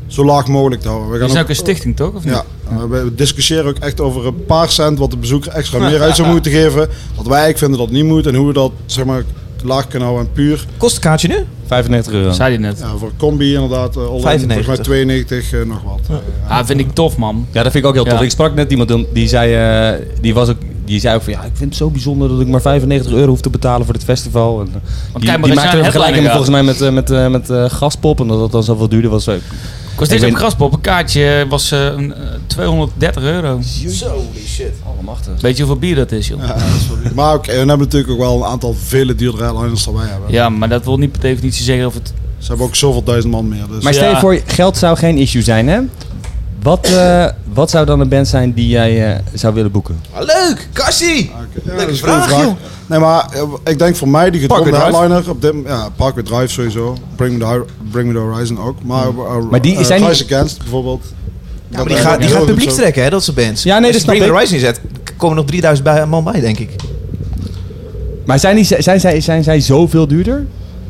S3: zo laag mogelijk te houden. We
S4: Dat
S3: gaan
S4: is
S3: ook-
S4: ook een stichting toch? Of niet?
S3: ja, en we we discussiëren ook echt over een paar cent wat de bezoeker extra meer uit zou moeten geven. Wat wij eigenlijk vinden dat niet moet en hoe we dat zeg maar, laag kunnen houden en puur.
S2: Kost een kaartje nu?
S5: 95 euro.
S4: Zei je net.
S3: Ja, voor combi inderdaad, eh, all in,
S2: 95.
S3: volgens mij 92 eh, nog wat.
S4: Ah, vind ik tof man.
S5: Ja, dat vind ik ook heel tof.
S4: Ja.
S5: Ik sprak net iemand die- die zei, eh, die, was ook, die zei ook van ja, ik vind het zo bijzonder dat ik maar 95 euro hoef te betalen voor dit festival. En, eh, die
S4: maar
S5: die
S4: als
S5: maakte
S4: jij
S5: een
S4: een
S5: vergelijking
S4: headliner
S5: volgens mij met, eh, met, eh, met eh, gaspop en dat dat dan zoveel duurder was. Zo,
S4: Kost
S5: Ik
S4: dit op
S5: weet-
S4: Graspop? Een kaartje was eh, een, eh, 230 euro.
S2: Holy shit.
S4: Weet je hoeveel bier dat is joh? Ja,
S3: Maar ook, eh, we hebben natuurlijk ook wel een aantal vele duurdere airliners dan wij hebben.
S4: maar dat wil niet per definitie zeggen of het...
S3: Ze hebben ook zoveel duizend man meer. Dus.
S5: Maar stel je
S4: Ja.
S5: voor, geld zou geen issue zijn, hè? Wat, eh, wat zou dan een band zijn die jij eh, zou willen boeken?
S2: Ah, leuk! Cassie!
S3: Ah, Oké.
S2: Leuke
S3: dat is een
S2: vraag,
S3: goede
S2: joh.
S3: Nee, maar eh, ik denk voor mij die gedronde
S2: Parkway Drive.
S3: headliner op dit ja, Parkway Drive sowieso. Bring me the, Hor- Bring me the Horizon ook. Maar, eh,
S5: Maar die
S3: eh,
S5: zijn
S3: Rise
S5: niet-
S3: Against bijvoorbeeld. Ja,
S2: Hmm. Maar die gaat, die gaat publiek trekken, hè, dat soort bands.
S5: Ja, nee,
S2: Als
S5: dat
S2: je
S5: snap
S2: Bring
S5: ik.
S2: the Horizon zet, k- komen nog 3000 bij- man bij, denk ik.
S5: Maar zijn, die, zijn, zij, zijn zij zoveel duurder?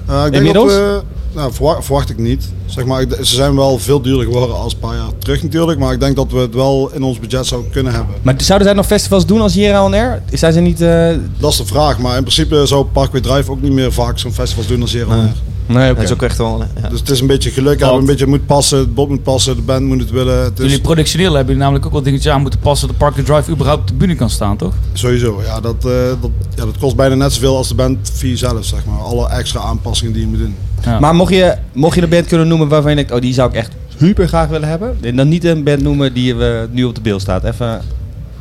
S3: Eh, ik denk dat
S5: Inmiddels?
S3: we, nou, verwacht, verwacht ik niet. Zeg maar, ik d- ze zijn wel veel duurder geworden als een paar jaar terug natuurlijk. Maar ik denk dat we het wel in ons budget zouden kunnen hebben.
S5: Maar zouden zij nog festivals doen als Jera on Air? Zijn ze niet... eh,
S3: Dat is de vraag. Maar in principe zou Parkway Drive ook niet meer vaak zo'n festival doen als hier. en daar.
S5: Nee, oké.
S2: Dat is ook echt wel... eh, ja.
S3: Dus het is een beetje geluk hebben, een beetje moet passen, het bod moet passen, de band moet het willen. Het is-
S4: Jullie productioneel hebben jullie namelijk ook wel dingetjes aan moeten passen... dat Park and Drive überhaupt op de bühne kan staan toch?
S3: Sowieso, ja dat, eh, dat, ja, dat kost bijna net zoveel als de band via zelf, zeg maar. Alle extra aanpassingen die je moet doen.
S5: Maar mocht je, mocht je een band kunnen noemen waarvan je denkt... Oh, die zou ik echt super graag willen hebben. En dan niet een band noemen die we nu op de beeld staat. Even...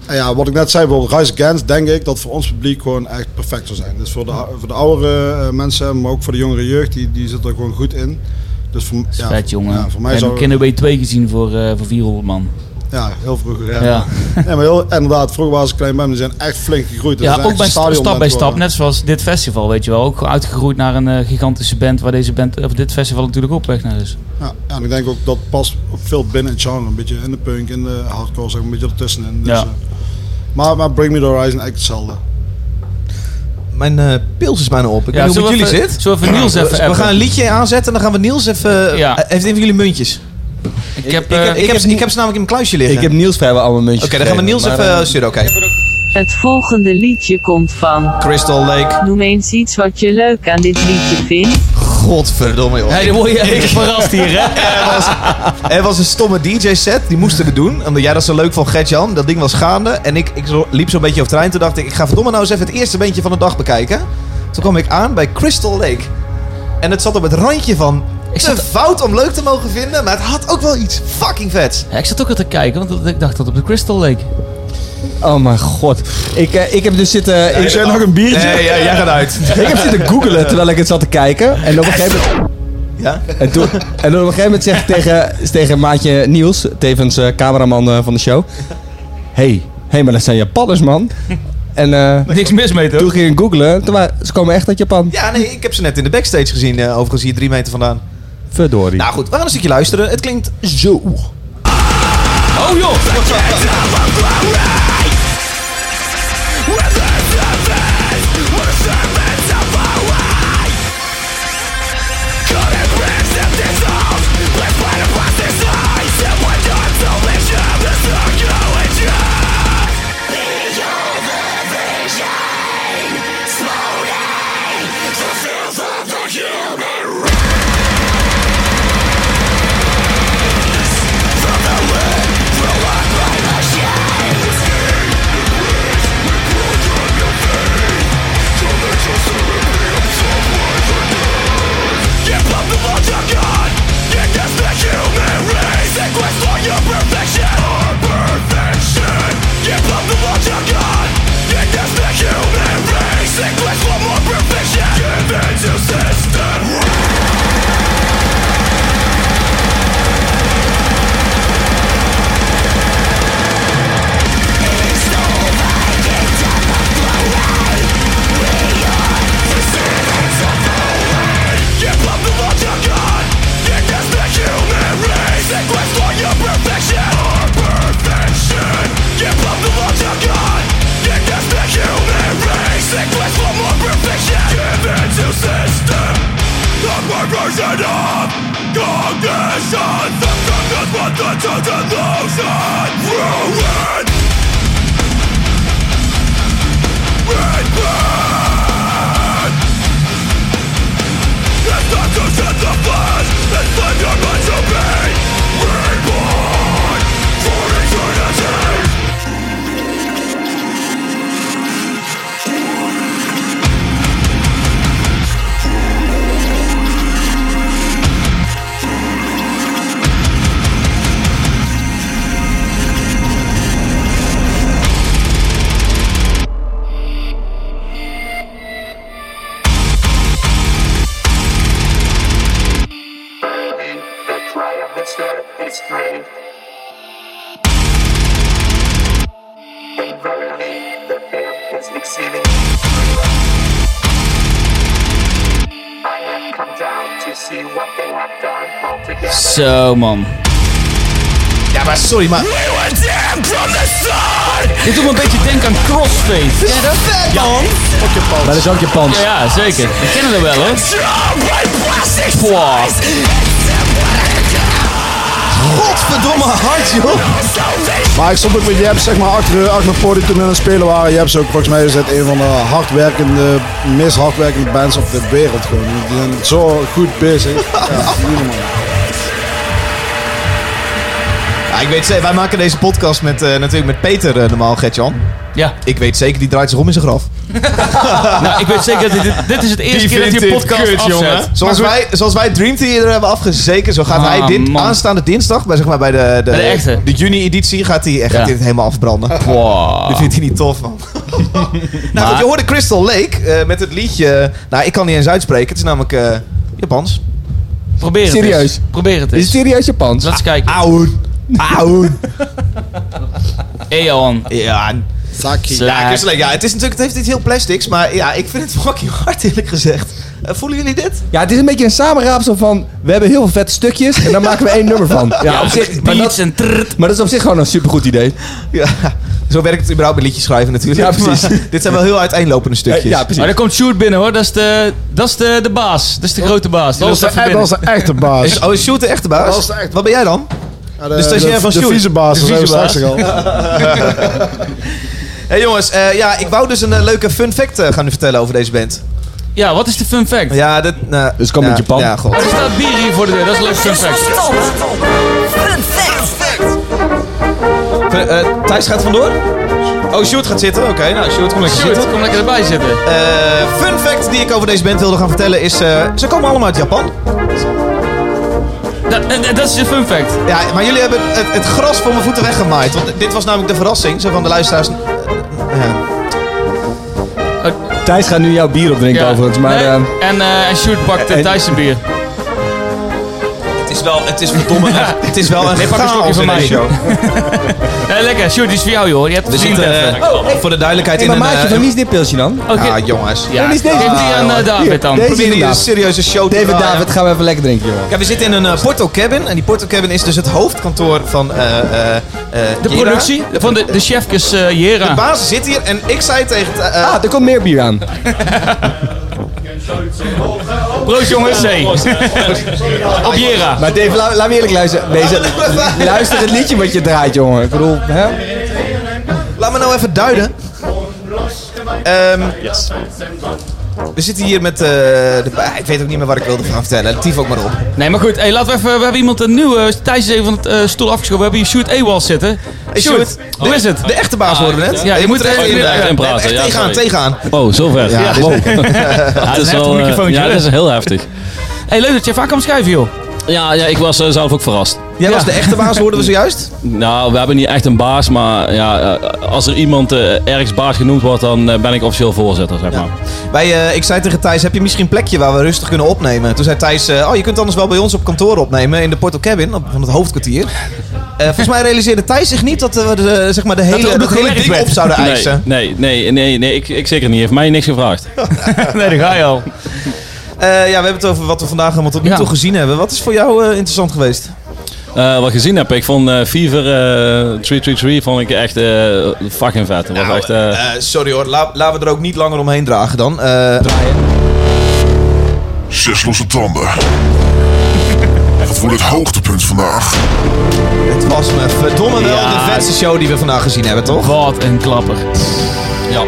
S3: En ja, wat ik net zei, bijvoorbeeld Rise Against, denk ik dat voor ons publiek gewoon echt perfect zou zijn. Dus voor de, voor de oudere eh, mensen, maar ook voor de jongere jeugd, die, die zit er gewoon goed in. Dus voor, ja,
S4: Vet jongen.
S3: Ja, voor mij
S4: We
S3: zou...
S4: hebben Kinderway 2 gezien voor, eh, voor 400 man.
S3: Ja, heel vroeger. Ja.
S4: Ja.
S3: Nee, maar heel, inderdaad, vroeger waren ze klein band, die zijn echt flink gegroeid. Dus
S4: Ja,
S3: dat zijn echt
S4: ook bij sta-
S3: stadionband
S4: stap bij stap.
S3: geworden.
S4: Net zoals dit festival, weet je wel. Ook uitgegroeid naar een eh, gigantische band waar deze band, of dit festival natuurlijk op weg naar is.
S3: Ja, ja, en ik denk ook dat past ook veel binnen het genre. Een beetje in de punk, in de hardcore, zeg maar, een beetje ertussenin. Dus,
S4: Ja.
S3: eh, maar, maar Bring Me The Horizon eigenlijk hetzelfde.
S2: mijn eh, pils is bijna op. Ik
S4: Ja,
S2: weet niet hoe
S4: zullen
S2: het
S4: we
S2: met jullie
S4: even-
S2: zit.
S4: Zullen we even Niels even
S2: we
S4: appen?
S2: gaan een liedje aanzetten en dan gaan we Niels even...
S4: Ja.
S2: eh, Heeft een van jullie muntjes?
S4: Ik heb...
S2: ik,
S4: eh,
S2: heb, ik, heb, ze- ik heb ze namelijk in mijn kluisje liggen.
S5: Ik heb Niels vrijwel allemaal muntjes
S2: Oké, dan gaan we Niels
S5: gegeven,
S2: even
S5: maar, eh,
S2: eh, sturen. Oké,
S7: Het volgende liedje komt van.
S2: Crystal Lake.
S7: Noem eens iets wat je leuk aan dit liedje vindt.
S2: Godverdomme, joh.
S4: Hey, dan word je echt verrast hier, hè?
S2: Er was een stomme DJ-set, die moesten we doen. Omdat jij dat zo leuk vond, Gert-Jan. Dat ding was gaande. En ik, ik zo- liep zo'n beetje over terrein. Toen dacht ik, ik ga verdomme nou eens even het eerste bandje van de dag bekijken. Toen kwam ik aan bij Crystal Lake. En het zat op het randje van te fout om leuk te mogen vinden. Maar het had ook wel iets fucking vets.
S4: Ja, ik zat ook al te kijken, want ik dacht dat op de Crystal Lake.
S5: Oh mijn god. Ik, eh, ik heb dus zitten... ik,
S3: Is er nog een biertje?
S2: jij gaat uit.
S5: ik heb zitten googelen terwijl ik het zat te kijken. En op een gegeven moment...
S2: Ja?
S5: En toen, en toen op een gegeven moment zeg ik tegen, tegen maatje Niels, tevens eh, cameraman eh, van de show. hey, hey, maar dat zijn Japanners, man. En eh,
S4: Niks mis mee,
S5: toen
S4: toch?
S5: ging ik googlen. Toen waren, ze komen echt uit Japan.
S2: Ja, nee, ik heb ze net in de backstage gezien. eh, overigens hier drie meter vandaan.
S5: Verdorie.
S2: Nou goed, we gaan een stukje luisteren. Het klinkt
S5: zo.
S4: Oh joh! Zo man.
S2: Ja, maar sorry, maar...
S4: Dit doet me een beetje denken aan Crossfade. Ken je dat?
S5: Maar dat is ook Japans.
S4: Ja, ja, zeker. We kennen dat wel hoor. Pwah.
S2: Godverdomme hard, joh.
S3: Maar ik stond ook met Jeps zeg maar, achter, achter mijn podium toen we aan het spelen waren. Jeps ook volgens mij is het een van de hardwerkende, meest hardwerkende bands op de wereld. Gewoon. Die zijn zo goed bezig. Ja, dat is niet normaal.
S2: Ja, ik weet, ze- wij maken deze podcast met, eh, natuurlijk met Peter eh, normaal, Gertjan.
S4: Ja,
S2: Ik weet zeker, die draait zich om in zijn graf.
S4: nou ik weet zeker dat dit, dit is het eerste keer dat je podcast afzet.
S2: Zoals wij, zoals wij Dream Theater hebben afgezeken, zo gaat
S4: Ah,
S2: hij dit
S4: man.
S2: aanstaande dinsdag, bij, zeg maar, bij de, de,
S4: Bij de echte.
S2: juni-editie, gaat hij gaat
S4: Ja. Ah.
S2: hij dit helemaal afbranden.
S4: Pwah.
S2: Dat vindt hij niet tof, man. nou, goed, je hoorde Crystal Lake eh, met het liedje... Nou, ik kan niet eens uitspreken. Het is namelijk eh, Japans.
S4: Probeer het
S5: Serieus?
S4: eens. Probeer het
S5: Is het
S4: eens.
S5: serieus Japans?
S4: Laten we kijken.
S2: Auw. Auw.
S4: Eon.
S2: Ja,
S3: Saki.
S2: Ja, Crystal Lake, ja, het is natuurlijk, het heeft iets heel plastics, maar ja, ik vind het fucking hard eerlijk gezegd. Eh, voelen jullie dit?
S5: Ja, het is een beetje een samenraapsel van... We hebben heel veel vette stukjes en daar maken we één nummer van. Ja, op zich, maar,
S4: Beats
S5: dat,
S4: en trrrt. Eh,
S5: maar dat is op zich gewoon een supergoed idee.
S2: Ja. Zo werkt het überhaupt bij liedjes schrijven natuurlijk.
S5: Ja, precies. Eh,
S2: Maar dit zijn wel heel uiteenlopende stukjes.
S5: Ja, precies.
S4: Maar daar komt Sjoerd binnen hoor, dat is de, dat is de, de baas. Dat is de grote baas. Die
S3: Dat is,
S4: loopt
S3: de,
S4: even
S3: e- dat is
S4: binnen.
S3: de echte baas.
S2: Is, oh, is Sjoerd de echte baas?
S3: Dat is de echte-
S2: Wat ben jij dan?
S3: Ja, de,
S2: de stagiair
S3: de-
S2: van
S3: De
S2: Sjoerd.
S3: vieze baas,
S2: De
S3: dat zijn we
S2: vieze baas.
S3: straks al.
S2: Hé hey, jongens, eh, ja, ik wou dus een eh, leuke fun fact eh, gaan u vertellen over deze band.
S4: Ja, wat is de fun fact?
S2: Ja, dat... nou,
S5: Dus kom
S2: ja,
S5: met Japan.
S2: Ja, god.
S4: Er staat bier hier voor de deur, dat is een leuke fun fact.
S6: Fun fact.
S2: Eh, eh, Thijs gaat vandoor? Oh, Sjoerd gaat zitten. Oké, nou Sjoerd, kom lekker zitten.
S4: Sjoerd, kom lekker erbij zitten.
S2: Eh, fun fact die ik over deze band wilde gaan vertellen is... eh, ze komen allemaal uit Japan.
S4: Dat, dat- dat is de fun fact.
S2: Ja, maar jullie hebben het, het gras voor mijn voeten weggemaaid. Want dit was namelijk de verrassing. Zo van de luisteraars... eh, ja.
S5: Thijs gaat nu jouw bier opdrinken
S4: Ja.
S5: overigens, maar...
S4: Nee,
S5: eh,
S4: en, eh, en Sjoerd pakt uh,
S5: en-
S4: Thijs een bier.
S2: Het is wel, het is verdomme, het is wel een
S4: pak een slokje
S2: chaos
S4: van
S2: in
S4: mij.
S2: deze show.
S4: Nee, Eh, lekker, Sjoerd, die is voor jou joh. Je hebt
S2: We
S4: het
S2: zitten,
S4: even.
S2: eh, voor de duidelijkheid
S5: hey,
S2: in
S5: maar
S2: een...
S5: maatje,
S2: eh,
S5: van wie is dit pilsje dan?
S4: Oké.
S2: Ah, jongens.
S4: Ja,
S5: Wat is deze?
S4: geef die aan eh, David dan.
S5: Hier, deze.
S2: Probeer hier een
S5: David.
S2: serieuze show te
S5: David
S2: draaien.
S5: David, gaan we even lekker drinken, joh.
S2: Ja, we zitten in een eh, Porto Cabin. En die Porto Cabin is dus het hoofdkantoor van... eh, eh, eh,
S4: De
S2: Jera.
S4: productie van de, de chefkes eh, Jera.
S2: De baas zit hier en ik zei tegen... eh, eh,
S5: Ah, er komt meer bier aan.
S4: Proost jongens, hey. Op Jera.
S5: Maar Dave, laat, laat me eerlijk luisteren. Deze, luister het liedje wat je draait, jongen. Ik bedoel, hè?
S2: Laat me nou even duiden. Ehm, We zitten hier met... eh, de, ba- ik weet ook niet meer wat ik wilde gaan vertellen. Tief ook maar op.
S4: Nee, maar goed, hey, laten we even. We hebben iemand een nieuwe. Thijs is even van het eh, stoel afgeschoven. We hebben hier Sjoerd Ewald zitten.
S2: Hey,
S4: Sjoerd,
S2: Sjoerd.
S4: hoe is het?
S2: De echte baas hoorden we net.
S4: ja, je moet er even-
S2: in-
S4: ja,
S2: eh,
S9: in praten,
S2: echt
S9: ja,
S2: tegenaan,
S9: sorry.
S2: tegenaan.
S9: Oh, zover. Ja, wow.
S4: is
S9: Ja, dat
S4: echt een
S9: eh,
S4: microfoontje,
S9: Ja,
S4: hè?
S9: dat is heel heftig.
S4: Hey, leuk dat je vaak kwam schuiven, joh.
S9: Ja, ja ik was eh, zelf ook verrast.
S2: Jij
S4: Ja.
S2: was de echte baas, hoorden we zojuist.
S9: Nou, we hebben niet echt een baas, maar ja, eh, als er iemand eh, ergens baas genoemd wordt, dan eh, ben ik officieel voorzitter, zeg maar.
S2: Wij, eh, ik zei tegen Thijs, heb je misschien een plekje waar we rustig kunnen opnemen? Toen zei Thijs, eh, oh, je kunt anders wel bij ons op kantoor opnemen, in de Porto Cabin, op- van het hoofdkwartier. Eh, volgens mij realiseerde Thijs zich niet dat eh, we de, zeg maar de hele,
S4: er ook
S2: dat
S4: nog
S2: hele
S4: gewerkt
S2: ding
S4: werd.
S2: op zouden
S9: Nee,
S2: eisen.
S9: nee, nee, nee, nee ik, ik zeker niet. Heeft mij niks gevraagd.
S4: Nee, daar ga je al.
S2: Eh, ja, we hebben het over wat we vandaag allemaal tot nu
S4: Ja.
S2: toe gezien hebben. Wat is voor jou eh, interessant geweest?
S9: Eh, wat ik gezien heb, ik vond eh, Fever eh, 333 vond ik echt eh, fucking vet. Dat was echt, eh,
S2: Eh, sorry hoor, La- laten we er ook niet langer omheen dragen dan. Eh,
S10: Zes losse tanden. Dat wordt het hoogtepunt vandaag.
S2: het was me verdomme wel
S4: Ja.
S2: de vetste show die we vandaag gezien hebben, toch?
S4: Wat een klapper.
S9: ja.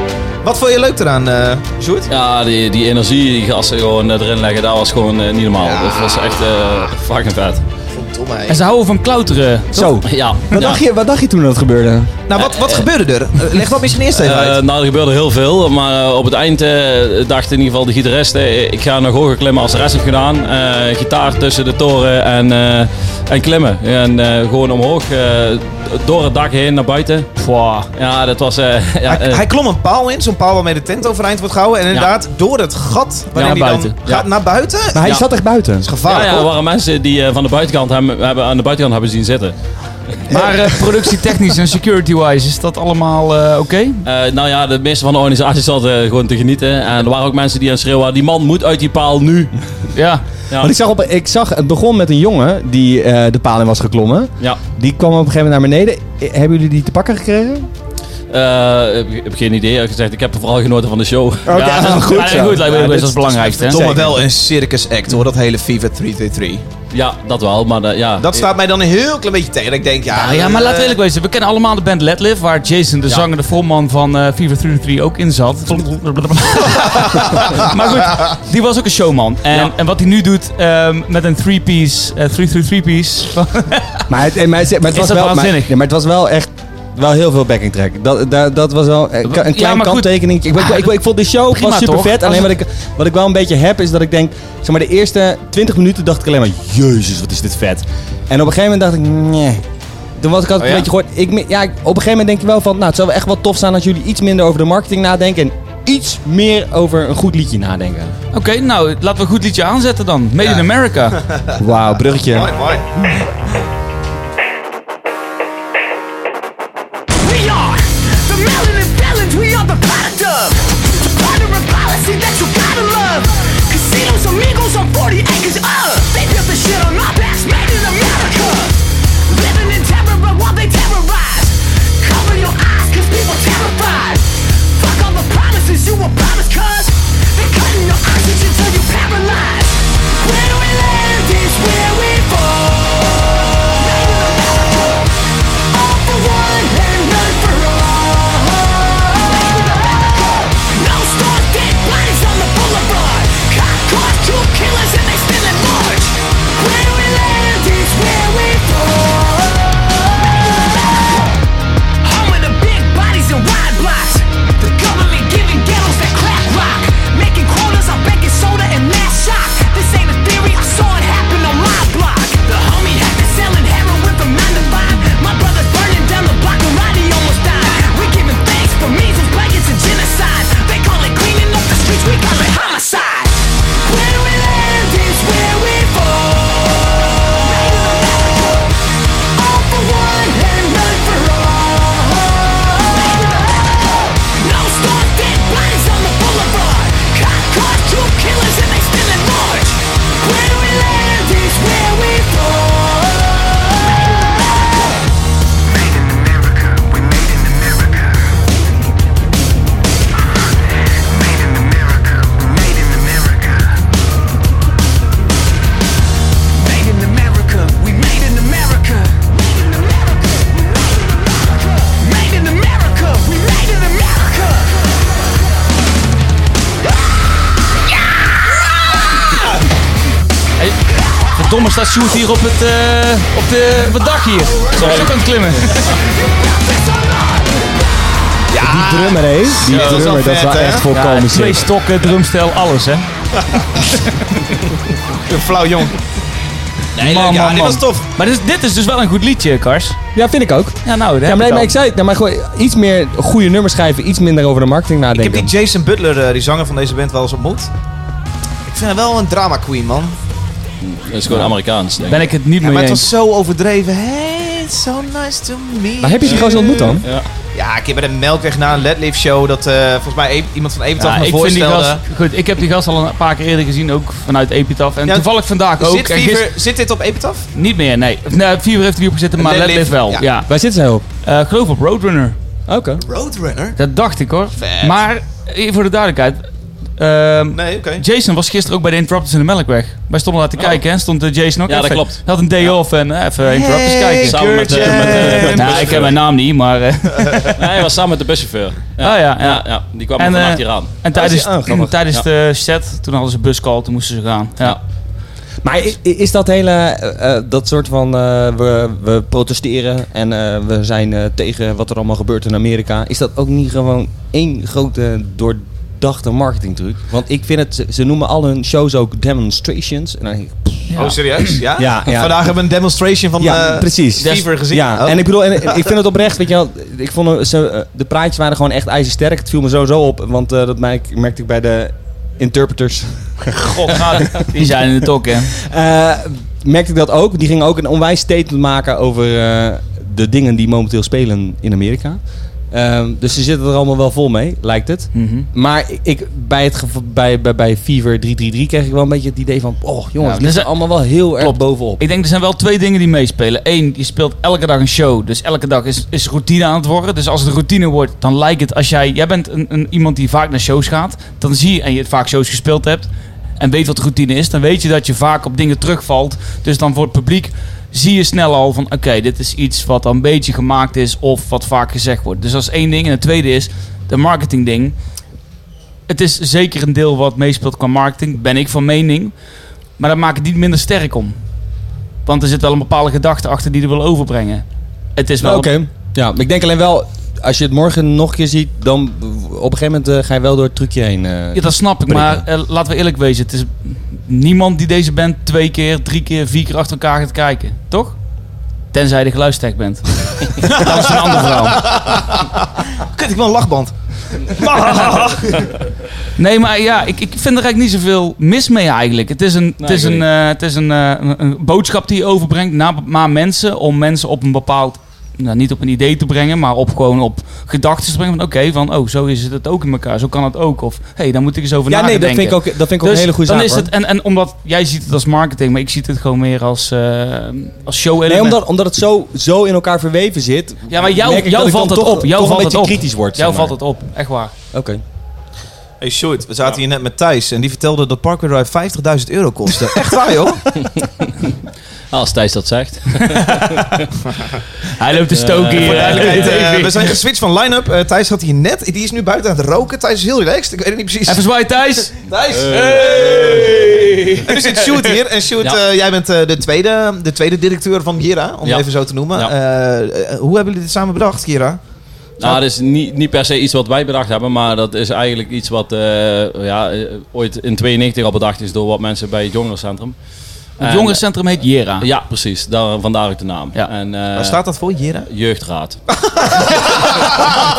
S2: Wat vond je leuk eraan, eh Sjoerd?
S9: ja, die, die energie die gasten gewoon eh, erin leggen, dat was gewoon eh, niet normaal. Dat was echt eh, fucking vet.
S2: Verdomme, hé.
S4: En ze houden van klauteren.
S5: Zo.
S9: Ja,
S5: Wat,
S9: ja.
S5: dacht je, wat dacht je toen dat gebeurde?
S2: Nou, wat, wat gebeurde er? Eh, Leg dat misschien eerst even
S9: Eh,
S2: uit.
S9: nou, er gebeurde heel veel. Maar eh, op het eind eh, dacht in ieder geval de gitarist... eh, ik ga nog hoger klimmen als de rest heeft gedaan. Eh, gitaar tussen de toren en, eh, en klimmen. En eh, gewoon omhoog, eh, door het dak heen naar buiten.
S4: Pwa.
S9: Ja, dat was... eh, ja,
S2: Hij,
S9: eh,
S2: hij klom een paal in, zo'n paal waarmee de tent overeind wordt gehouden. En inderdaad, door het gat waarin
S4: Naar
S2: hij dan
S4: buiten,
S2: gaat naar buiten.
S5: Maar hij
S9: Ja.
S5: zat echt buiten.
S9: ja,
S2: Gevaarlijk.
S9: ja, er
S2: hoor.
S9: waren mensen die eh, van de buitenkant hem, hebben, aan de buitenkant hebben zien zitten.
S4: Maar eh, productietechnisch en security-wise, is dat allemaal eh, oké?
S9: Eh, nou ja, de meeste van de organisaties zaten eh, gewoon te genieten. En er waren ook mensen die aan het schreeuwen waren, die man moet uit die paal nu.
S4: Ja.
S9: Ja,
S5: Want Oh, ik zag, op, ik zag, het begon met een jongen die eh, de paal in was geklommen.
S9: ja.
S5: Die kwam op een gegeven moment naar beneden. Eh, Hebben jullie die te pakken gekregen?
S9: Eh, ik heb geen idee. Ik, gezegd, ik heb vooral genoten van de show.
S5: Oké,
S4: ja,
S5: goed
S4: ja,
S5: zo.
S4: goed, lijkt me
S5: Ja,
S4: ook best
S5: dit
S4: als
S5: is-
S4: belangrijkste. hè?
S2: Domme wel een circus act hoor, dat hele FIFA 323.
S9: Ja, dat wel. Maar eh, ja,
S2: Dat staat mij dan een heel klein beetje tegen. Dat Ik denk, ja,
S4: Ah, ja, maar
S2: eh,
S4: laten we eerlijk wezen. We kennen allemaal de band Let Live, waar Jason, de zanger, de frontman van eh Fever 333 ook in zat. maar goed, die was ook een showman. En,
S9: Ja.
S4: en wat hij nu doet ehm, met een 3-piece, eh, 333-piece.
S5: Maar het, eh, maar het, maar het
S4: Is
S5: was
S4: dat
S5: wel,
S4: waanzinnig?
S5: Maar, nee, maar het was wel echt wel heel veel backing track. Dat, dat, dat was wel een, ka- een
S4: Ja,
S5: klein
S4: maar goed.
S5: kanttekening. Ik, ben- ik, ik vond de show
S4: Prima,
S5: was super
S4: toch?
S5: vet. Alleen
S4: Als-
S5: wat ik, wat ik wel een beetje heb is dat ik denk... Zeg maar de eerste 20 minuten dacht ik alleen maar... Jezus, wat is dit vet. En op een gegeven moment dacht ik... Nee. Toen was ik altijd
S4: Oh
S2: ja?
S5: een beetje gehoord... Ik, me- ja, ik- op een gegeven moment denk je wel van... Nou, het zou wel echt wel tof zijn als jullie iets minder over de marketing nadenken... en iets meer over een goed liedje nadenken.
S4: Oké, nou, laten we een goed liedje aanzetten dan. Made in America.
S5: Wauw, bruggetje.
S2: mooi, mooi.
S6: We are the melanin balance, we are the product of the partner of policy that you gotta love. Casinos, amigos on 40 acres of. They built the shit on our backs, made in America. Living in terror of what they terrorize. Cover your eyes, cause people
S4: Godverdomme staat Sjoerd hier op het, eh, op de, op het dak hier. Zo ook aan het klimmen.
S5: Die drummer, hé. Die
S2: dat is wel
S5: drummer, dat is wel
S2: vet, hè?
S5: echt voor
S4: Ja,
S5: komisch.
S4: twee stokken, drumstel, alles hè.
S2: Een flauw jong. Nee,
S4: Man,
S2: leuk, ja,
S4: man,
S2: dit
S4: man.
S2: was tof.
S4: Maar dit is, dit is dus wel een goed liedje, Kars.
S5: Ja, vind ik ook.
S4: Ja, nou, daar heb
S5: Ja, maar,
S4: je
S5: nee, maar
S4: het
S5: ik
S4: al.
S5: zei het. Nou, maar gewoon iets meer goede nummers schrijven, iets minder over de marketing
S2: Ik heb
S5: nadenken.
S2: die Jason Butler, eh, die zanger van deze band, wel eens ontmoet. Ik vind hem wel een drama queen, man.
S9: Dat is gewoon Amerikaans, denk ik.
S4: Ben ik het niet
S2: Ja,
S4: mee
S2: maar het
S4: eens.
S2: was zo overdreven. Hey, it's so nice to meet
S5: Maar heb je die gozer ontmoet dan?
S2: Ja, ik heb bij de Melkweg na een Ledleaf show dat eh, volgens mij e- iemand van Evental
S4: Ja,
S2: me
S4: ik vind die
S2: voorstelde.
S4: gast, goed, ik heb die gast al een paar keer eerder gezien, ook vanuit Epitaph. En
S2: Ja,
S4: toevallig vandaag ook.
S2: zit,
S4: En
S2: Fever-
S4: gisteren-
S2: zit dit op Epitaph?
S4: niet meer, nee. Nee, Fever heeft er niet op gezeten, maar
S2: Let
S4: Let
S2: Live,
S4: Live wel.
S2: ja.
S4: Ja.
S5: Waar zitten zij op?
S4: Eh, geloof op Roadrunner.
S5: Oké.
S2: Roadrunner?
S4: Dat dacht ik hoor.
S2: Vet.
S4: Maar, eh, voor de duidelijkheid. ehm,
S2: Nee, oké.
S4: Jason was gisteren ook bij de Interrupters in de Melkweg. Wij stonden daar te kijken en stond eh, Jason ook
S9: Oh. Ja, dat
S4: even-
S9: klopt.
S4: Hij had een day off en eh, even Interrupters kijken.
S9: Samen met, eh, met, eh, met-
S4: nou, ik ken mijn naam niet, maar... eh,
S9: Nee, hij was samen met de buschauffeur.
S4: Oh ja, ja.
S9: ja, ja. Die kwam
S4: En,
S9: en, vannacht
S4: eh,
S9: hier aan.
S4: En tijdens,
S5: Ah, grappig.
S4: tijdens
S9: Ja.
S4: de set, toen hadden ze een buscall, toen moesten ze gaan. Ja.
S5: Maar i- i- is dat hele, eh, eh, dat soort van, eh, we, we protesteren en eh, we zijn eh, tegen wat er allemaal gebeurt in Amerika. Is dat ook niet gewoon één grote doordachte marketingtruc? Want ik vind het, ze- ze noemen al hun shows ook demonstrations. En dan denk ik, pff,
S2: Oh, serieus? Ja?
S5: Ja, ja.
S2: Vandaag hebben we een demonstration van
S5: ja,
S2: eh,
S5: precies.
S2: Fever gezien.
S5: Ja,
S2: Oh.
S5: en ik bedoel, en, ik vind het oprecht, weet je wel, ik vond eh, ze, eh, de praatjes waren gewoon echt ijzersterk. Het viel me sowieso op, want eh, dat merk- merkte ik bij de interpreters.
S4: God, nou, die zijn in de tok, hè.
S5: Eh, merkte ik dat ook. Die gingen ook een onwijs statement maken over eh, de dingen die momenteel spelen in Amerika. Ehm, dus ze zitten er allemaal wel vol mee, lijkt het.
S4: Mhm.
S5: Maar ik- ik, bij, het gevo- bij, bij, bij Fever 333 kreeg ik wel een beetje het idee van... Oh jongens,
S4: Ja,
S5: dit
S4: dus
S5: is
S4: dat-
S5: allemaal wel heel erg
S4: Klopt.
S5: bovenop.
S4: Ik denk, er zijn wel twee dingen die meespelen. Eén, je speelt elke dag een show. Dus elke dag is, is routine aan het worden. Dus als het routine wordt, dan lijkt het... Als jij, jij bent een, een, iemand die vaak naar shows gaat. Dan zie je, en je vaak shows gespeeld hebt. En weet wat routine is. Dan weet je dat je vaak op dingen terugvalt. Dus dan voor het publiek zie je snel al van... Oké, dit is iets wat al een beetje gemaakt is. Of wat vaak gezegd wordt. Dus dat is één ding. En het tweede is, de marketing ding. Het is zeker een deel wat meespeelt qua marketing. Ben ik van mening. Maar dat maakt het niet minder sterk om. Want er zit wel een bepaalde gedachte achter die er wil overbrengen. Het is wel.
S5: Nou, Oké, ja, maar ik denk alleen wel... Als je het morgen nog een keer ziet, dan op een gegeven moment eh, ga je wel door het trucje heen. eh.
S4: Ja, dat snap ik. Maar eh, laten we eerlijk wezen: het is niemand die deze band twee keer, drie keer, vier keer achter elkaar gaat kijken, toch? Tenzij je de geluidstech bent. dat is een ander verhaal.
S2: Kut, ik wil een lachband.
S4: Nee, maar ja, ik, ik vind er eigenlijk niet zoveel mis mee eigenlijk. Het is een, het is
S9: ik
S4: een,
S9: weet
S4: eh, het is een, eh, een- een boodschap die je overbrengt naar, naar mensen. Om mensen op een bepaald, nou niet op een idee te brengen, maar op gewoon op gedachten te brengen. Van oké, van oh, zo is het ook in elkaar. Zo kan het ook. Of hé, hey, daar moet ik eens over
S5: ja, nee,
S4: nadenken.
S5: dat vind ik ook, dat vind ik ook
S4: Dus
S5: een hele goede
S4: dan
S5: zaak.
S4: is
S5: hoor.
S4: het, en, en omdat jij ziet het als marketing, maar ik zie het gewoon meer als, eh als show element.
S5: Nee, omdat, omdat het zo, zo in elkaar verweven zit.
S4: Ja, maar jou,
S5: merk ik dat
S4: jou
S5: ik
S4: valt
S5: dan
S4: het
S5: toch-
S4: op. Jou
S5: toch
S4: valt
S5: een
S4: het
S5: beetje
S4: op.
S5: kritisch wordt.
S4: Jou
S5: zeg maar.
S4: valt het op, echt waar.
S5: Oké.
S2: Hey Sjoerd, we zaten hier net met Thijs en die vertelde dat Parkway Drive 50.000 euro kostte. Echt waar, joh?
S9: Als Thijs dat zegt.
S4: Hij loopt de stoken hier.
S2: Voor duidelijkheid, eh, we zijn geswitcht van line-up. Eh, Thijs had hier net, die is nu buiten aan het roken. Thijs is heel relaxed, ik weet het niet precies.
S4: Even zwaaien, Thijs.
S2: Thijs! En nu zit Sjoerd hier. En Sjoerd,
S9: Ja.
S2: eh, jij bent eh, de, tweede, de tweede directeur van Gira, om
S9: Ja.
S2: even zo te noemen.
S9: Ja.
S2: Eh, eh, hoe hebben jullie dit samen bedacht, Gira?
S9: Nou, dat is niet, niet per se iets wat wij bedacht hebben, maar dat is eigenlijk iets wat eh, ja, eh, ooit in 92 al bedacht is door wat mensen bij het jongerencentrum.
S4: Het
S9: En-
S4: jongerencentrum heet Jera.
S9: Ja, precies. Daar, vandaar ook de naam.
S4: Ja.
S9: En, eh,
S2: Waar staat dat voor, Gira?
S9: Jeugdraad.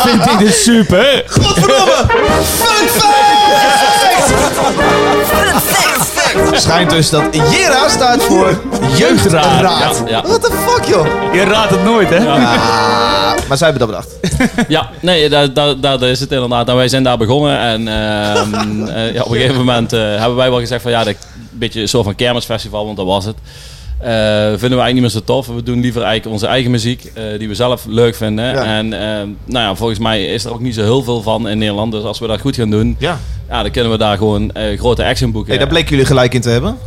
S4: Vind ik dit super.
S2: Schijnt dus dat Jera staat voor
S4: Jeugdraad.
S2: Raad.
S9: Ja, ja.
S2: What the fuck, joh?
S4: Je raadt het nooit, hè?
S2: Ah, maar zij hebben dat bedacht.
S9: Ja, nee, daar, daar, daar is het inderdaad. En wij zijn daar begonnen. En ehm, eh, ja, op een gegeven moment eh, hebben wij wel gezegd van ja, dat, een beetje een soort van kermisfestival, want dat was het. Eh, vinden we eigenlijk niet meer zo tof. We doen liever eigenlijk onze eigen muziek, eh, die we zelf leuk vinden.
S2: Ja.
S9: En ehm, nou ja, volgens mij is er ook niet zo heel veel van in Nederland. Dus als we dat goed gaan doen,
S2: Ja.
S9: ja, dan kunnen we daar gewoon eh, grote action boeken.
S2: Hey, daar bleken jullie gelijk in te hebben.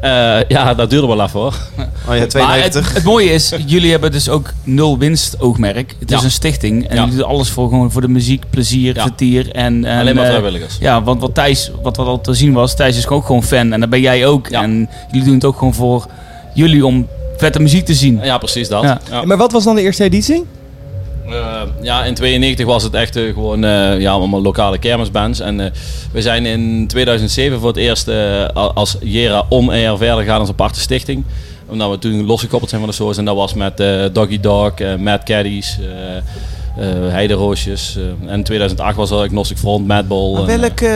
S9: Eh, ja, dat duurde wel even hoor.
S2: Oh ja,
S4: Maar het,
S2: 92.
S4: het mooie is, jullie hebben dus ook nul winst oogmerk. Het
S9: Ja.
S4: is een stichting en
S9: Ja.
S4: jullie doen alles voor, gewoon voor de muziek, plezier,
S9: Ja.
S4: vertier. En, en,
S9: Alleen maar
S4: eh,
S9: vrijwilligers.
S4: Ja, want wat Thijs, wat, wat al te zien was, Thijs is ook gewoon fan en dat ben jij ook.
S9: Ja.
S4: En jullie doen het ook gewoon voor jullie om vette muziek te zien.
S9: Ja, precies dat.
S4: Ja.
S9: Ja.
S5: Maar wat was dan de eerste editie?
S9: Eh, ja, in 92 was het echt eh, gewoon eh, ja, allemaal lokale kermisbands. En eh, we zijn in 2007 voor het eerst eh, a- als Jera On Air verder gegaan als aparte stichting. Omdat we toen losgekoppeld zijn van de source. En dat was met eh, Doggy Dog, eh, Mad Caddies, eh eh, Heideroosjes. eh, en in 2008 was er Agnostic Front, Madball. en, eh,
S2: Welk, eh,